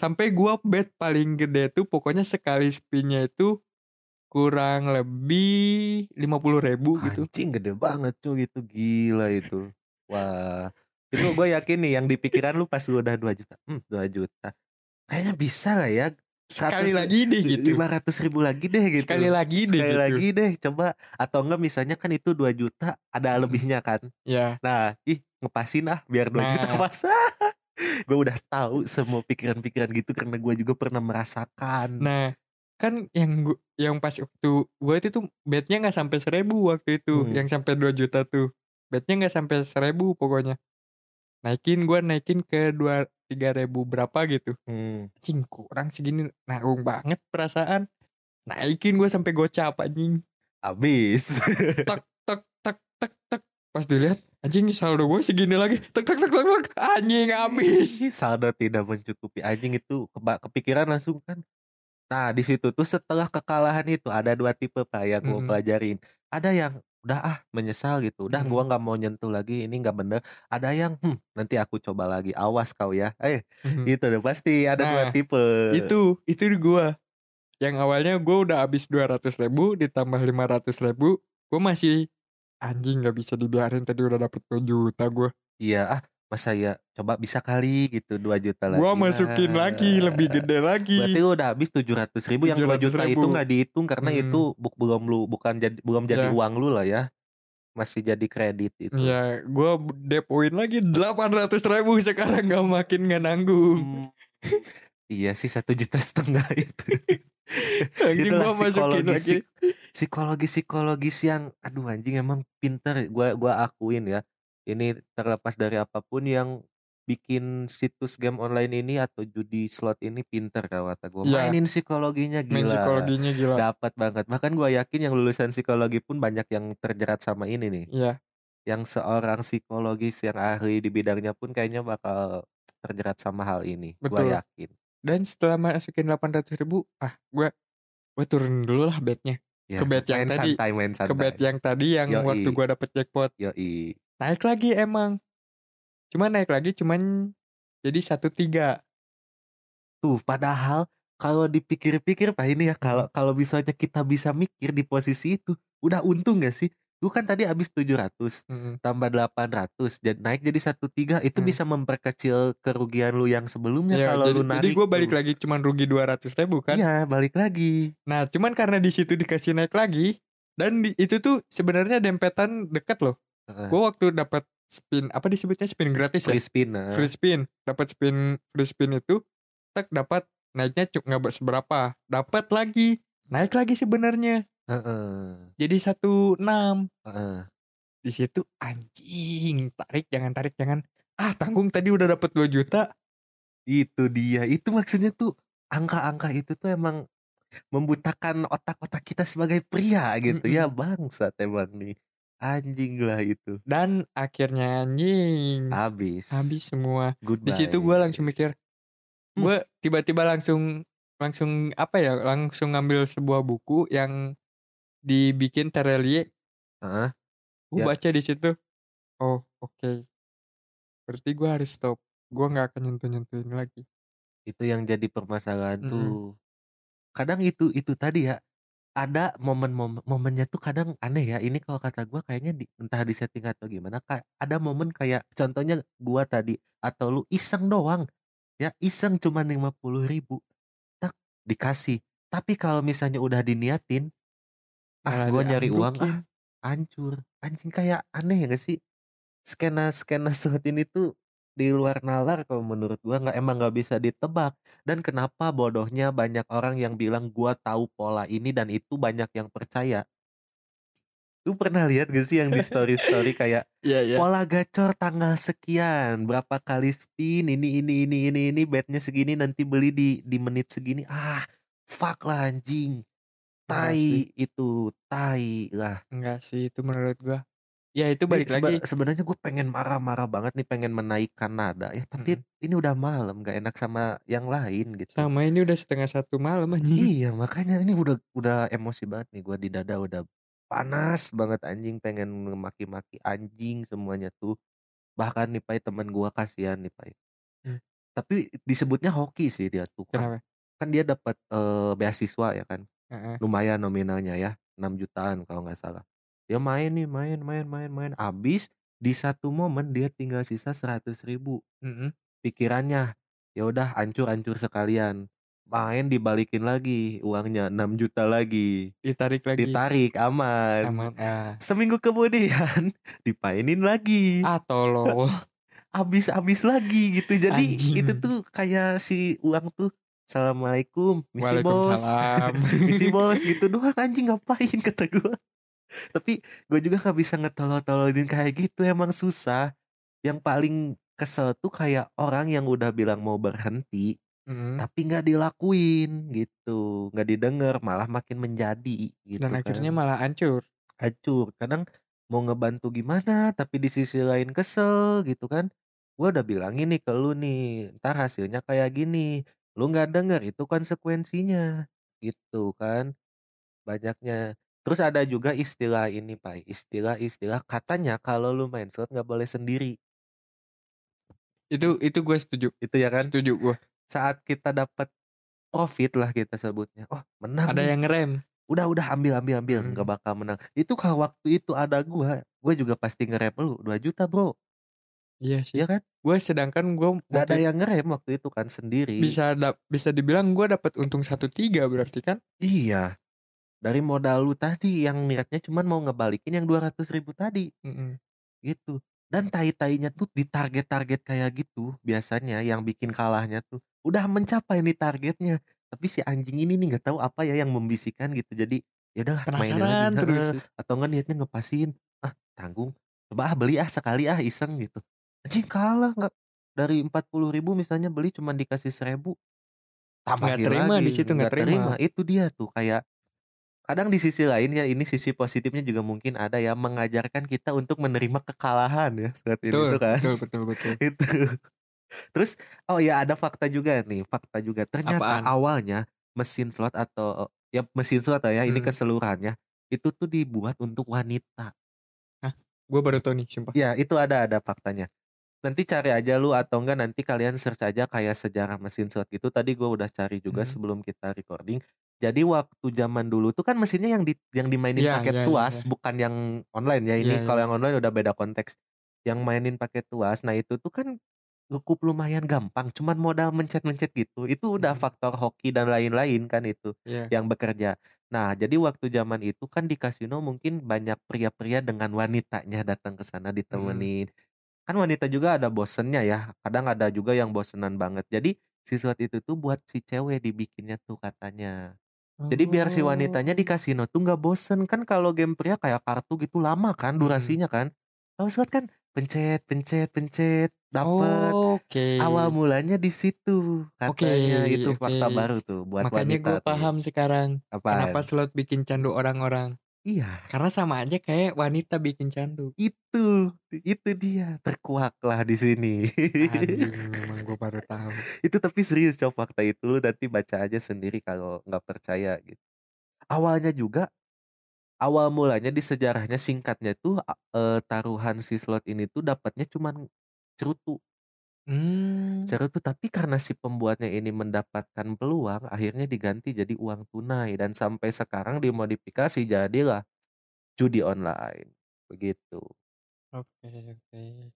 [SPEAKER 1] sampai gua bed paling gede tuh pokoknya sekali spinnya itu kurang lebih 50.000 ribu gitu
[SPEAKER 5] anjing gede banget cuy itu gila itu wah itu gue yakin nih yang di pikiran lu pas lu udah 2 juta hmm 2 juta kayaknya bisa lah ya
[SPEAKER 1] sekali lagi deh gitu
[SPEAKER 5] lima ratus ribu lagi deh gitu
[SPEAKER 1] sekali lagi deh
[SPEAKER 5] Sekali
[SPEAKER 1] gitu
[SPEAKER 5] lagi deh coba atau enggak misalnya kan itu 2 juta ada lebihnya kan
[SPEAKER 1] ya
[SPEAKER 5] nah ih ngepasin ah biar 2
[SPEAKER 1] Nah.
[SPEAKER 5] juta pas gue udah tahu semua pikiran-pikiran gitu karena gue juga pernah merasakan
[SPEAKER 1] nah kan yang gua, yang pas waktu gue itu tuh bednya nggak sampai seribu waktu itu
[SPEAKER 5] Hmm.
[SPEAKER 1] yang sampai 2 juta tuh bednya nggak sampai seribu pokoknya naikin gua naikin ke dua tiga ribu berapa gitu
[SPEAKER 5] Hmm.
[SPEAKER 1] cing kurang segini nanggung banget perasaan naikin gue sampai gocap anjing
[SPEAKER 5] abis
[SPEAKER 1] tek tek tek tek pas dilihat anjing saldo gue segini lagi tek tek tek tek, tek. anjing habis
[SPEAKER 5] Ih, saldo tidak mencukupi anjing itu keba- kepikiran langsung kan nah di situ tuh setelah kekalahan itu ada dua tipe pak yang gue
[SPEAKER 1] Mm-mm.
[SPEAKER 5] pelajarin ada yang udah ah menyesal gitu udah
[SPEAKER 1] Mm-mm.
[SPEAKER 5] gua nggak mau nyentuh lagi ini nggak bener ada yang "Hmm, nanti aku coba lagi awas kau ya eh itu deh pasti ada dua
[SPEAKER 1] Hmm. Nah,
[SPEAKER 5] tipe
[SPEAKER 1] itu itu gua yang awalnya gua udah habis 200 ribu ditambah 500 ribu gue masih anjing nggak bisa dibiarin tadi udah dapet 2 juta gue
[SPEAKER 5] iya ah masa ya coba bisa kali gitu 2 juta lagi
[SPEAKER 1] gue
[SPEAKER 5] lah.
[SPEAKER 1] masukin lagi lebih gede lagi
[SPEAKER 5] Berarti lu udah habis tujuh ratus ribu yang dua juta
[SPEAKER 1] 700.000.
[SPEAKER 5] itu nggak dihitung karena
[SPEAKER 1] Hmm.
[SPEAKER 5] itu bu- belum lu bukan jadi belum
[SPEAKER 1] Ya.
[SPEAKER 5] jadi uang lu lah ya masih jadi kredit itu.
[SPEAKER 1] ya gue depoin lagi 800 ribu sekarang nggak makin nggak nanggung
[SPEAKER 5] Hmm. iya sih satu juta setengah itu.
[SPEAKER 1] anjing gue
[SPEAKER 5] Itulah
[SPEAKER 1] masukin
[SPEAKER 5] psikologis
[SPEAKER 1] lagi
[SPEAKER 5] psikologis psikologis yang aduh anjing emang pinter gua gua akuin ya ini terlepas dari apapun yang bikin situs game online ini atau judi slot ini pinter kata gua
[SPEAKER 1] Ya.
[SPEAKER 5] mainin psikologinya gila
[SPEAKER 1] main ya. psikologinya gila
[SPEAKER 5] dapat banget bahkan gua yakin yang lulusan psikologi pun banyak yang terjerat sama ini nih
[SPEAKER 1] ya
[SPEAKER 5] yang seorang psikologis yang ahli di bidangnya pun kayaknya bakal terjerat sama hal ini gua
[SPEAKER 1] Betul.
[SPEAKER 5] yakin
[SPEAKER 1] dan setelah masukin 800 ribu ah gue gue turun dulu lah betnya
[SPEAKER 5] ya,
[SPEAKER 1] Ke bet yang
[SPEAKER 5] main
[SPEAKER 1] tadi. ya.
[SPEAKER 5] santai main santai
[SPEAKER 1] ke bet yang tadi yang
[SPEAKER 5] Yoi.
[SPEAKER 1] waktu gue dapet jackpot
[SPEAKER 5] Yoi.
[SPEAKER 1] naik lagi emang cuman naik lagi cuman jadi satu tiga
[SPEAKER 5] tuh gitu. padahal kalau dipikir-pikir pak ini ya kalau kalau misalnya kita bisa mikir di posisi itu udah untung gak sih lu kan tadi habis 700 tambah 800 jadi naik jadi 13 itu
[SPEAKER 1] Hmm.
[SPEAKER 5] bisa memperkecil kerugian lu yang sebelumnya
[SPEAKER 1] ya,
[SPEAKER 5] kalau
[SPEAKER 1] jadi,
[SPEAKER 5] lu narik
[SPEAKER 1] jadi gue balik
[SPEAKER 5] tuh.
[SPEAKER 1] lagi cuman rugi dua ratus ribu kan
[SPEAKER 5] Iya balik lagi
[SPEAKER 1] nah cuman karena di situ dikasih naik lagi dan di- itu tuh sebenarnya dempetan deket loh
[SPEAKER 5] Heeh.
[SPEAKER 1] gue waktu dapat spin apa disebutnya spin gratis ya
[SPEAKER 5] free spin nah.
[SPEAKER 1] Nah. free spin dapat spin free spin itu tak dapat naiknya cuk nggak ber- seberapa dapat lagi naik lagi sebenarnya
[SPEAKER 5] Heeh,
[SPEAKER 1] jadi satu enam
[SPEAKER 5] heeh.
[SPEAKER 1] di situ anjing tarik jangan tarik jangan ah tanggung tadi udah dapet 2 juta
[SPEAKER 5] itu dia itu maksudnya tuh angka-angka itu tuh emang membutakan otak-otak kita sebagai pria gitu ya bangsa emang nih anjing lah itu
[SPEAKER 1] dan akhirnya anjing
[SPEAKER 5] habis
[SPEAKER 1] habis semua
[SPEAKER 5] goodbye
[SPEAKER 1] di situ gue langsung mikir
[SPEAKER 5] Hmm.
[SPEAKER 1] gue tiba-tiba langsung langsung apa ya langsung ngambil sebuah buku yang dibikin Terelie
[SPEAKER 5] Heeh.
[SPEAKER 1] gue
[SPEAKER 5] Ya.
[SPEAKER 1] baca di situ oh oke berarti gue harus stop gue nggak akan nyentuh nyentuhin lagi
[SPEAKER 5] itu yang jadi permasalahan
[SPEAKER 1] Mm-mm.
[SPEAKER 5] tuh kadang itu itu tadi ya ada momen-momen momennya tuh kadang aneh ya ini kalau kata gua kayaknya di, entah di setting atau gimana ka- ada momen kayak contohnya gua tadi atau lu iseng doang ya iseng cuman lima puluh ribu tak dikasih tapi kalau misalnya udah diniatin ah
[SPEAKER 1] Malah
[SPEAKER 5] gua nyari uang
[SPEAKER 1] diambukin.
[SPEAKER 5] ah hancur anjing kayak aneh ya gak sih skena skena saat ini tuh di luar nalar kalau menurut gua nggak emang nggak bisa ditebak dan kenapa bodohnya banyak orang yang bilang gua tahu pola ini dan itu banyak yang percaya lu pernah lihat gak sih yang di story story kayak
[SPEAKER 1] iya iya
[SPEAKER 5] pola gacor tanggal sekian berapa kali spin ini ini ini ini ini betnya segini nanti beli di di menit segini ah fuck lah anjing
[SPEAKER 1] Parah
[SPEAKER 5] tai
[SPEAKER 1] Iya sih.
[SPEAKER 5] itu tai lah
[SPEAKER 1] enggak sih itu menurut gue ya itu
[SPEAKER 5] Nih,
[SPEAKER 1] balik
[SPEAKER 5] seba-
[SPEAKER 1] lagi
[SPEAKER 5] sebenarnya gue pengen marah-marah banget nih pengen menaikkan nada ya tapi ini udah malam gak enak sama yang lain gitu
[SPEAKER 1] sama ini udah setengah satu malam anjing
[SPEAKER 5] iya makanya ini udah udah emosi banget nih gue di dada udah panas banget anjing pengen maki-maki anjing semuanya tuh bahkan nih pai teman gue kasihan nih pai
[SPEAKER 1] Hmm.
[SPEAKER 5] tapi disebutnya hoki sih dia tuh kan,
[SPEAKER 1] kenapa
[SPEAKER 5] kan dia dapat eh, beasiswa ya kan
[SPEAKER 1] Heeh.
[SPEAKER 5] lumayan nominalnya ya 6 jutaan kalau nggak salah dia main nih main main main main abis di satu momen dia tinggal sisa 100 ribu
[SPEAKER 1] Mm-mm.
[SPEAKER 5] pikirannya ya udah hancur hancur sekalian main dibalikin lagi uangnya 6 juta lagi
[SPEAKER 1] ditarik lagi
[SPEAKER 5] ditarik aman,
[SPEAKER 1] aman ah
[SPEAKER 5] seminggu kemudian dipainin lagi
[SPEAKER 1] ah tolol
[SPEAKER 5] abis-abis lagi gitu jadi
[SPEAKER 1] Anjing.
[SPEAKER 5] itu tuh kayak si uang tuh assalamualaikum misi bos
[SPEAKER 1] Waalaikumsalam.
[SPEAKER 5] misi bos gitu doang anjing ngapain kata gue tapi gue juga gak bisa ngetolol-tololin kayak gitu emang susah yang paling kesel tuh kayak orang yang udah bilang mau berhenti
[SPEAKER 1] Mm-mm.
[SPEAKER 5] tapi nggak dilakuin gitu nggak didengar malah makin menjadi gitu
[SPEAKER 1] dan
[SPEAKER 5] kan.
[SPEAKER 1] akhirnya malah hancur
[SPEAKER 5] hancur kadang mau ngebantu gimana tapi di sisi lain kesel gitu kan gua udah bilangin nih ke lu nih ntar hasilnya kayak gini lu nggak denger itu konsekuensinya gitu kan banyaknya terus ada juga istilah ini pak istilah-istilah katanya kalau lu main slot nggak boleh sendiri
[SPEAKER 1] itu itu gue setuju
[SPEAKER 5] itu ya kan
[SPEAKER 1] setuju gue
[SPEAKER 5] saat kita dapat profit lah kita sebutnya oh menang
[SPEAKER 1] ada
[SPEAKER 5] nih.
[SPEAKER 1] yang ngerem
[SPEAKER 5] udah udah ambil ambil ambil
[SPEAKER 1] Hmm.
[SPEAKER 5] nggak bakal menang itu kalau waktu itu ada gua gua juga pasti ngerem lu 2 juta bro
[SPEAKER 1] iya sih
[SPEAKER 5] Iya kan
[SPEAKER 1] gue sedangkan gue
[SPEAKER 5] nggak ada yang ngerem waktu itu kan sendiri
[SPEAKER 1] bisa dap- bisa dibilang gue dapat untung satu tiga berarti kan
[SPEAKER 5] iya dari modal lu tadi yang niatnya cuman mau ngebalikin yang 200 ribu tadi
[SPEAKER 1] Mm-mm.
[SPEAKER 5] gitu dan tai-tainya tuh di target-target kayak gitu biasanya yang bikin kalahnya tuh udah mencapai nih targetnya tapi si anjing ini nih nggak tahu apa ya yang membisikkan gitu jadi ya udah
[SPEAKER 1] penasaran terus
[SPEAKER 5] atau enggak niatnya ngepasin ah tanggung coba ah beli ah sekali ah iseng gitu anjing kalah nggak dari empat puluh ribu misalnya beli cuma dikasih seribu
[SPEAKER 1] Nggak terima di situ, nggak terima.
[SPEAKER 5] itu dia tuh kayak kadang di sisi lain ya ini sisi positifnya juga mungkin ada ya mengajarkan kita untuk menerima kekalahan ya saat ini
[SPEAKER 1] betul,
[SPEAKER 5] tuh kan
[SPEAKER 1] betul betul betul
[SPEAKER 5] itu terus oh ya ada fakta juga nih fakta juga
[SPEAKER 1] Apaan?
[SPEAKER 5] ternyata awalnya mesin slot atau ya mesin slot ya ini
[SPEAKER 1] Hmm.
[SPEAKER 5] keseluruhannya itu tuh dibuat untuk wanita
[SPEAKER 1] gue baru tau nih sumpah
[SPEAKER 5] ya itu ada ada faktanya nanti cari aja lu atau enggak nanti kalian search aja kayak sejarah mesin slot itu tadi gua udah cari juga
[SPEAKER 1] Hmm.
[SPEAKER 5] sebelum kita recording jadi waktu zaman dulu tuh kan mesinnya yang di yang dimainin
[SPEAKER 1] Iya,
[SPEAKER 5] pakai
[SPEAKER 1] iya, iya, iya.
[SPEAKER 5] tuas bukan yang online ya ini
[SPEAKER 1] Iya,
[SPEAKER 5] kalau yang online udah beda konteks yang mainin pakai tuas nah itu tuh kan cukup lumayan gampang cuman modal mencet-mencet gitu itu
[SPEAKER 1] Mhm.
[SPEAKER 5] udah faktor hoki dan lain-lain kan itu
[SPEAKER 1] Iya.
[SPEAKER 5] yang bekerja nah jadi waktu zaman itu kan di kasino mungkin banyak pria-pria dengan wanitanya datang ke
[SPEAKER 1] Hmm.
[SPEAKER 5] sana ditemenin kan wanita juga ada bosennya ya kadang ada juga yang bosenan banget jadi siswa itu tuh buat si cewek dibikinnya tuh katanya jadi biar
[SPEAKER 1] Oh.
[SPEAKER 5] si wanitanya di kasino tuh nggak bosen kan kalau game pria kayak kartu gitu lama kan
[SPEAKER 1] Mm-mm.
[SPEAKER 5] durasinya kan. Kalau slot kan pencet pencet pencet dapet.
[SPEAKER 1] Oh, oke
[SPEAKER 5] Awal mulanya di situ katanya
[SPEAKER 1] Oke,
[SPEAKER 5] itu fakta
[SPEAKER 1] oke.
[SPEAKER 5] baru tuh buat
[SPEAKER 1] makanya
[SPEAKER 5] wanita.
[SPEAKER 1] gue
[SPEAKER 5] tuh.
[SPEAKER 1] paham sekarang
[SPEAKER 5] Apaan?
[SPEAKER 1] kenapa slot bikin candu orang-orang
[SPEAKER 5] Iya,
[SPEAKER 1] Karena sama aja kayak wanita bikin candu.
[SPEAKER 5] itu itu dia terkuaklah di sini.
[SPEAKER 1] Anjing, memang gue baru tahu.
[SPEAKER 5] itu tapi serius cow fakta itu lu nanti baca aja sendiri kalau nggak percaya gitu awalnya juga awal mulanya di sejarahnya singkatnya tuh a- eh, taruhan si slot ini tuh dapatnya cuman cerutu
[SPEAKER 1] Hmm.
[SPEAKER 5] cerutu tapi karena si pembuatnya ini mendapatkan peluang akhirnya diganti jadi uang tunai dan sampai sekarang dimodifikasi jadilah judi online begitu
[SPEAKER 1] Oke oke.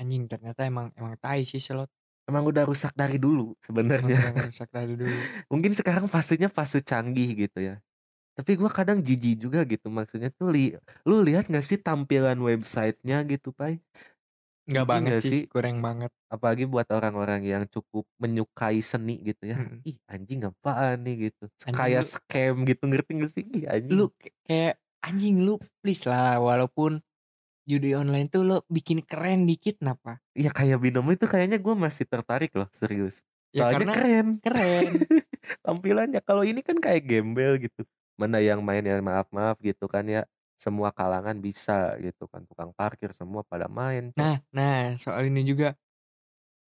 [SPEAKER 1] Anjing ternyata emang emang tai sih slot.
[SPEAKER 5] emang udah rusak dari dulu sebenarnya
[SPEAKER 1] Emang rusak dari dulu.
[SPEAKER 5] mungkin sekarang fasenya fase canggih gitu ya tapi gua kadang jijik juga gitu maksudnya tuh li lu lihat nggak sih tampilan websitenya gitu pai
[SPEAKER 1] Enggak
[SPEAKER 5] Jijik
[SPEAKER 1] banget
[SPEAKER 5] nggak
[SPEAKER 1] sih,
[SPEAKER 5] Iya sih?
[SPEAKER 1] kurang banget.
[SPEAKER 5] apalagi buat orang-orang yang cukup menyukai seni gitu ya
[SPEAKER 1] Mm-mm.
[SPEAKER 5] ih anjing apaan nih gitu
[SPEAKER 1] Hmm. Anjing
[SPEAKER 5] kayak
[SPEAKER 1] lu-
[SPEAKER 5] scam gitu ngerti nggak sih ih anjing
[SPEAKER 1] Lu k- kayak anjing lu please lah walaupun judi online tuh lo bikin keren dikit napa?
[SPEAKER 5] ya kayak binomo itu kayaknya gua masih tertarik loh serius
[SPEAKER 1] Ya karena
[SPEAKER 5] soalnya
[SPEAKER 1] Hmm.
[SPEAKER 5] keren
[SPEAKER 1] keren.
[SPEAKER 5] tampilannya kalau ini kan kayak gembel gitu mana yang main ya maaf maaf gitu kan ya semua kalangan bisa gitu kan tukang parkir semua pada main
[SPEAKER 1] Nah, nah soal ini juga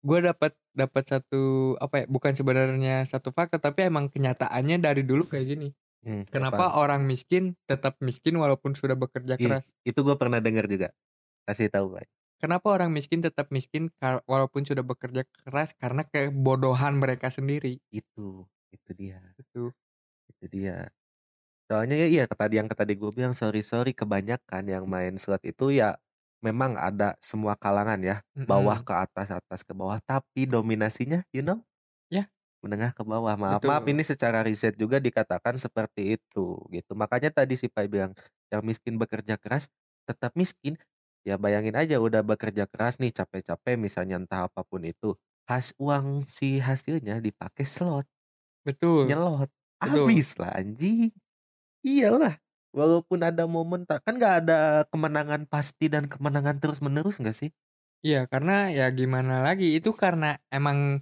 [SPEAKER 1] gue dapat dapat satu apa ya bukan sebenarnya satu fakta tapi emang kenyataannya dari dulu kayak gini.
[SPEAKER 5] Hmm,
[SPEAKER 1] Kenapa orang miskin tetap miskin walaupun sudah bekerja
[SPEAKER 5] Iya.
[SPEAKER 1] keras?
[SPEAKER 5] itu gue pernah dengar juga kasih tahu Pak.
[SPEAKER 1] Kenapa orang miskin tetap miskin kar- walaupun sudah bekerja keras karena kebodohan mereka sendiri. gitu.
[SPEAKER 5] itu itu dia
[SPEAKER 1] Itu.
[SPEAKER 5] itu dia soalnya ya iya tadi yang tadi gue bilang sorry sorry kebanyakan yang main slot itu ya memang ada semua kalangan ya
[SPEAKER 1] Mm-mm.
[SPEAKER 5] bawah ke atas atas ke bawah tapi dominasinya you know
[SPEAKER 1] Ya.
[SPEAKER 5] menengah ke bawah maaf
[SPEAKER 1] Betul.
[SPEAKER 5] maaf ini secara riset juga dikatakan seperti itu gitu makanya tadi si Pai bilang yang miskin bekerja keras tetap miskin ya bayangin aja udah bekerja keras nih capek-capek misalnya entah apapun itu has uang si hasilnya dipakai slot
[SPEAKER 1] Betul.
[SPEAKER 5] nyelot
[SPEAKER 1] Betul.
[SPEAKER 5] habis lah anjing iyalah walaupun ada momen tak kan nggak ada kemenangan pasti dan kemenangan terus menerus nggak sih
[SPEAKER 1] Iya, karena ya gimana lagi itu karena emang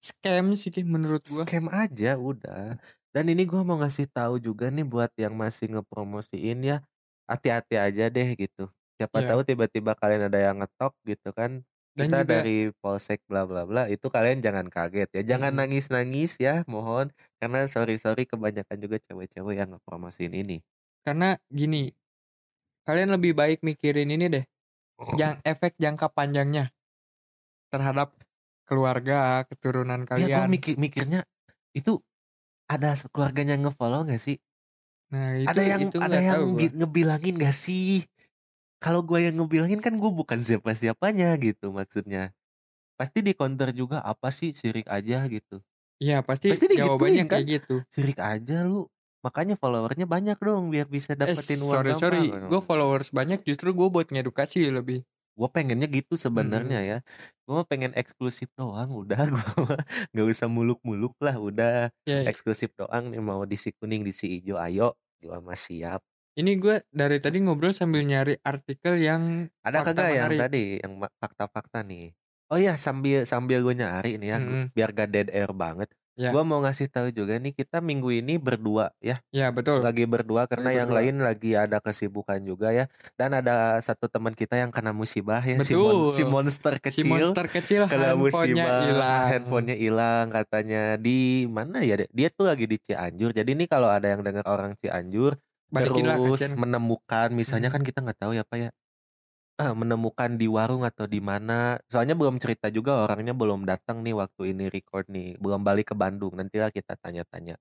[SPEAKER 1] scam sih Ki, menurut gua.
[SPEAKER 5] scam aja udah dan ini gua mau ngasih tahu juga nih buat yang masih ngepromosiin ya hati-hati aja deh gitu siapa
[SPEAKER 1] Iya.
[SPEAKER 5] tahu tiba-tiba kalian ada yang ngetok gitu kan
[SPEAKER 1] Dan
[SPEAKER 5] kita
[SPEAKER 1] juga
[SPEAKER 5] dari polsek bla bla bla itu kalian jangan kaget ya jangan
[SPEAKER 1] Mm.
[SPEAKER 5] nangis nangis ya mohon karena sorry sorry kebanyakan juga cewek-cewek yang ngepromosiin ini
[SPEAKER 1] karena gini kalian lebih baik mikirin ini deh yang efek jangka panjangnya terhadap keluarga keturunan
[SPEAKER 5] ya gua
[SPEAKER 1] kalian
[SPEAKER 5] mikir mikirnya itu ada keluarganya yang ngefollow nggak sih
[SPEAKER 1] nah itu
[SPEAKER 5] ada yang
[SPEAKER 1] itu
[SPEAKER 5] ada
[SPEAKER 1] nggak
[SPEAKER 5] yang gitu.
[SPEAKER 1] tahu gua.
[SPEAKER 5] gi- ngebilangin gak sih kalau gue yang ngebilangin kan gue bukan siapa siapanya gitu maksudnya pasti di counter juga apa sih sirik aja gitu
[SPEAKER 1] Iya pasti,
[SPEAKER 5] Pasti digituin,
[SPEAKER 1] jawabannya
[SPEAKER 5] kan?
[SPEAKER 1] kayak gitu
[SPEAKER 5] sirik aja lu makanya followernya banyak dong biar
[SPEAKER 1] eh,
[SPEAKER 5] bisa dapetin uang
[SPEAKER 1] sorry sorry gue followers banyak justru gue buat ngedukasi lebih
[SPEAKER 5] gue pengennya gitu sebenarnya
[SPEAKER 1] Hmm.
[SPEAKER 5] ya gue pengen eksklusif doang udah gue nggak usah muluk muluk lah udah
[SPEAKER 1] ya
[SPEAKER 5] eksklusif doang nih mau di si kuning di si hijau ayo juga mah siap
[SPEAKER 1] ini gue dari tadi ngobrol sambil nyari artikel yang
[SPEAKER 5] Ada
[SPEAKER 1] Fakta
[SPEAKER 5] kagak yang
[SPEAKER 1] menarik.
[SPEAKER 5] tadi yang ma- fakta-fakta nih? Oh iya sambil sambil gue nyari nih ya gu-
[SPEAKER 1] Mm-mm.
[SPEAKER 5] biar gak dead air banget.
[SPEAKER 1] Ya.
[SPEAKER 5] Gue mau ngasih tahu juga nih kita minggu ini berdua ya
[SPEAKER 1] ya betul
[SPEAKER 5] lagi berdua karena yang
[SPEAKER 1] berdua.
[SPEAKER 5] lain lagi ada kesibukan juga ya dan ada satu teman kita yang kena musibah ya si,
[SPEAKER 1] Betul.
[SPEAKER 5] si monster
[SPEAKER 1] si
[SPEAKER 5] kecil
[SPEAKER 1] monster kecil
[SPEAKER 5] kena
[SPEAKER 1] handphonenya
[SPEAKER 5] musibah
[SPEAKER 1] hilang
[SPEAKER 5] handphonenya hilang katanya di mana ya dia- dia tuh lagi di Cianjur jadi nih kalau ada yang dengar orang Cianjur
[SPEAKER 1] balikin lah
[SPEAKER 5] terus
[SPEAKER 1] kasihan
[SPEAKER 5] menemukan misalnya
[SPEAKER 1] Mhm.
[SPEAKER 5] kan kita nggak tahu ya pak ya eh, menemukan di warung atau di mana soalnya belum cerita juga orangnya belum datang nih waktu ini record nih belum balik ke Bandung nantilah kita tanya-tanya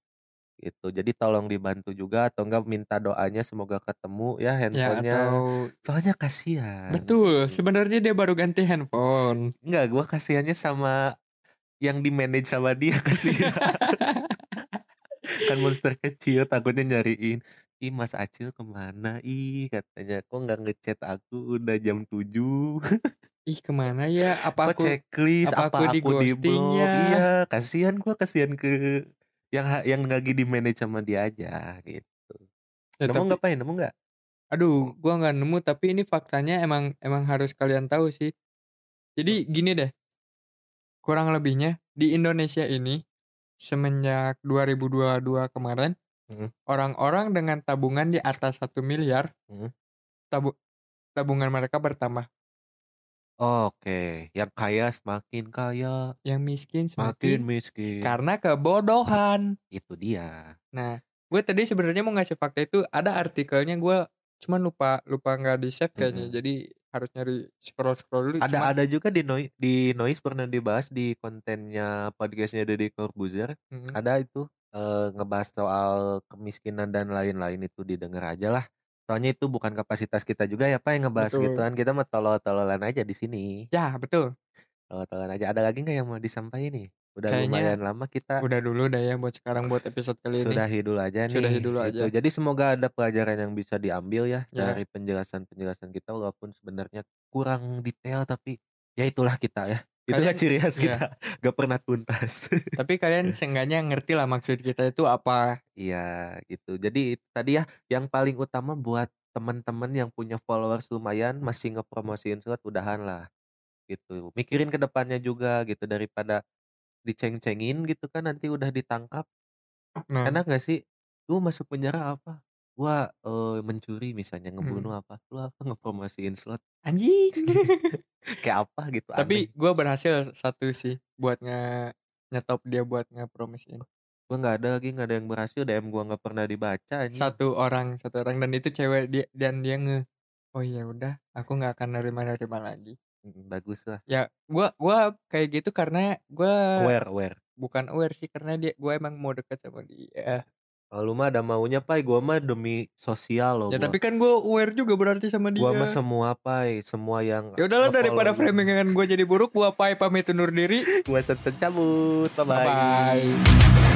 [SPEAKER 5] gitu jadi tolong dibantu juga atau enggak minta doanya semoga ketemu ya
[SPEAKER 1] ya
[SPEAKER 5] handphonenya
[SPEAKER 1] atau
[SPEAKER 5] soalnya kasihan
[SPEAKER 1] betul sebenarnya dia baru ganti handphone
[SPEAKER 5] enggak gua kasihannya sama yang di manage sama dia kasihan kan monster kecil takutnya nyariin ih mas Acil kemana ih katanya kok nggak ngechat aku udah jam 7
[SPEAKER 1] ih kemana ya apa
[SPEAKER 5] kok
[SPEAKER 1] aku
[SPEAKER 5] checklist
[SPEAKER 1] apa
[SPEAKER 5] apa,
[SPEAKER 1] aku di
[SPEAKER 5] aku di blog
[SPEAKER 1] ghostingnya?
[SPEAKER 5] iya kasihan gua kasihan ke yang ha- yang lagi di manage sama dia aja gitu
[SPEAKER 1] Ya,
[SPEAKER 5] nemu
[SPEAKER 1] tapi-
[SPEAKER 5] nggak pain nemu nggak
[SPEAKER 1] aduh gua nggak nemu tapi ini faktanya emang emang harus kalian tahu sih jadi gini deh kurang lebihnya di Indonesia ini semenjak 2022 kemarin
[SPEAKER 5] Mhm.
[SPEAKER 1] orang-orang dengan tabungan di atas satu miliar
[SPEAKER 5] Mhm.
[SPEAKER 1] tabu tabungan mereka bertambah
[SPEAKER 5] Oke, yang kaya semakin kaya,
[SPEAKER 1] yang miskin
[SPEAKER 5] semakin
[SPEAKER 1] semakin
[SPEAKER 5] miskin.
[SPEAKER 1] karena kebodohan
[SPEAKER 5] Itu dia.
[SPEAKER 1] nah gue tadi sebenarnya mau ngasih fakta itu ada artikelnya gue cuman lupa lupa nggak di save kayaknya
[SPEAKER 5] Mhm.
[SPEAKER 1] jadi harus nyari scroll scroll dulu
[SPEAKER 5] Ada
[SPEAKER 1] Cuma-
[SPEAKER 5] ada juga di noise, di noise pernah dibahas di kontennya podcastnya Deddy Corbuzier.
[SPEAKER 1] Mhm.
[SPEAKER 5] Ada itu eh, ngebahas soal kemiskinan dan lain-lain itu didengar aja lah. Soalnya itu bukan kapasitas kita juga ya Pak yang ngebahas
[SPEAKER 1] Betul.
[SPEAKER 5] gituan. Kita mah tolol-tololan aja di sini.
[SPEAKER 1] ya betul
[SPEAKER 5] Tolol-tololan aja. Ada lagi nggak yang mau disampaikan nih? Udah
[SPEAKER 1] Kayaknya
[SPEAKER 5] lumayan lama kita
[SPEAKER 1] udah dulu dah ya buat sekarang buat episode kali ini
[SPEAKER 5] Sudahi dulu aja nih.
[SPEAKER 1] Sudahi dulu
[SPEAKER 5] gitu.
[SPEAKER 1] aja.
[SPEAKER 5] Jadi semoga ada pelajaran yang bisa diambil ya
[SPEAKER 1] Ya.
[SPEAKER 5] dari penjelasan-penjelasan kita walaupun sebenarnya kurang detail tapi ya itulah kita ya. Itulah
[SPEAKER 1] Kalian-
[SPEAKER 5] ciri khas
[SPEAKER 1] iya.
[SPEAKER 5] kita. Gak pernah tuntas.
[SPEAKER 1] Tapi kalian seenggaknya ngerti lah maksud kita itu apa.
[SPEAKER 5] Iya gitu. Jadi itu tadi ya yang paling utama buat teman-teman yang punya followers lumayan masih ngepromosiin surat udahan lah gitu. Mikirin ke depannya juga gitu daripada diceng-cengin gitu kan nanti udah ditangkap
[SPEAKER 1] Nah,
[SPEAKER 5] enak gak sih lu masuk penjara apa gua eh, mencuri misalnya
[SPEAKER 1] Hmm.
[SPEAKER 5] ngebunuh apa lu apa ngepromosiin slot
[SPEAKER 1] anjing.
[SPEAKER 5] kayak apa gitu
[SPEAKER 1] Tapi gue berhasil satu sih buat nge nyetop dia buat ngepromosiin.
[SPEAKER 5] gue nggak ada lagi nggak ada yang berhasil dm gua nggak pernah dibaca anjing.
[SPEAKER 1] Satu orang, satu orang dan itu cewek dia dan dia nge Oh ya udah, aku nggak akan nerima-nerima lagi.
[SPEAKER 5] Mm, bagus lah
[SPEAKER 1] Ya, gua gua kayak gitu karena gua
[SPEAKER 5] aware aware
[SPEAKER 1] bukan aware sih karena dia gua emang mau deket sama dia.
[SPEAKER 5] Oh, lu mah ada maunya pai gua mah demi sosial loh
[SPEAKER 1] Ya
[SPEAKER 5] Oh, gua.
[SPEAKER 1] tapi kan gua aware juga berarti sama dia.
[SPEAKER 5] gua mah semua pai semua yang
[SPEAKER 1] ya udahlah daripada
[SPEAKER 5] ngefollow gitu. gua.
[SPEAKER 1] framing gua jadi buruk, gua pai pamit undur diri.
[SPEAKER 5] gua sen cabut bye bye
[SPEAKER 1] Bye.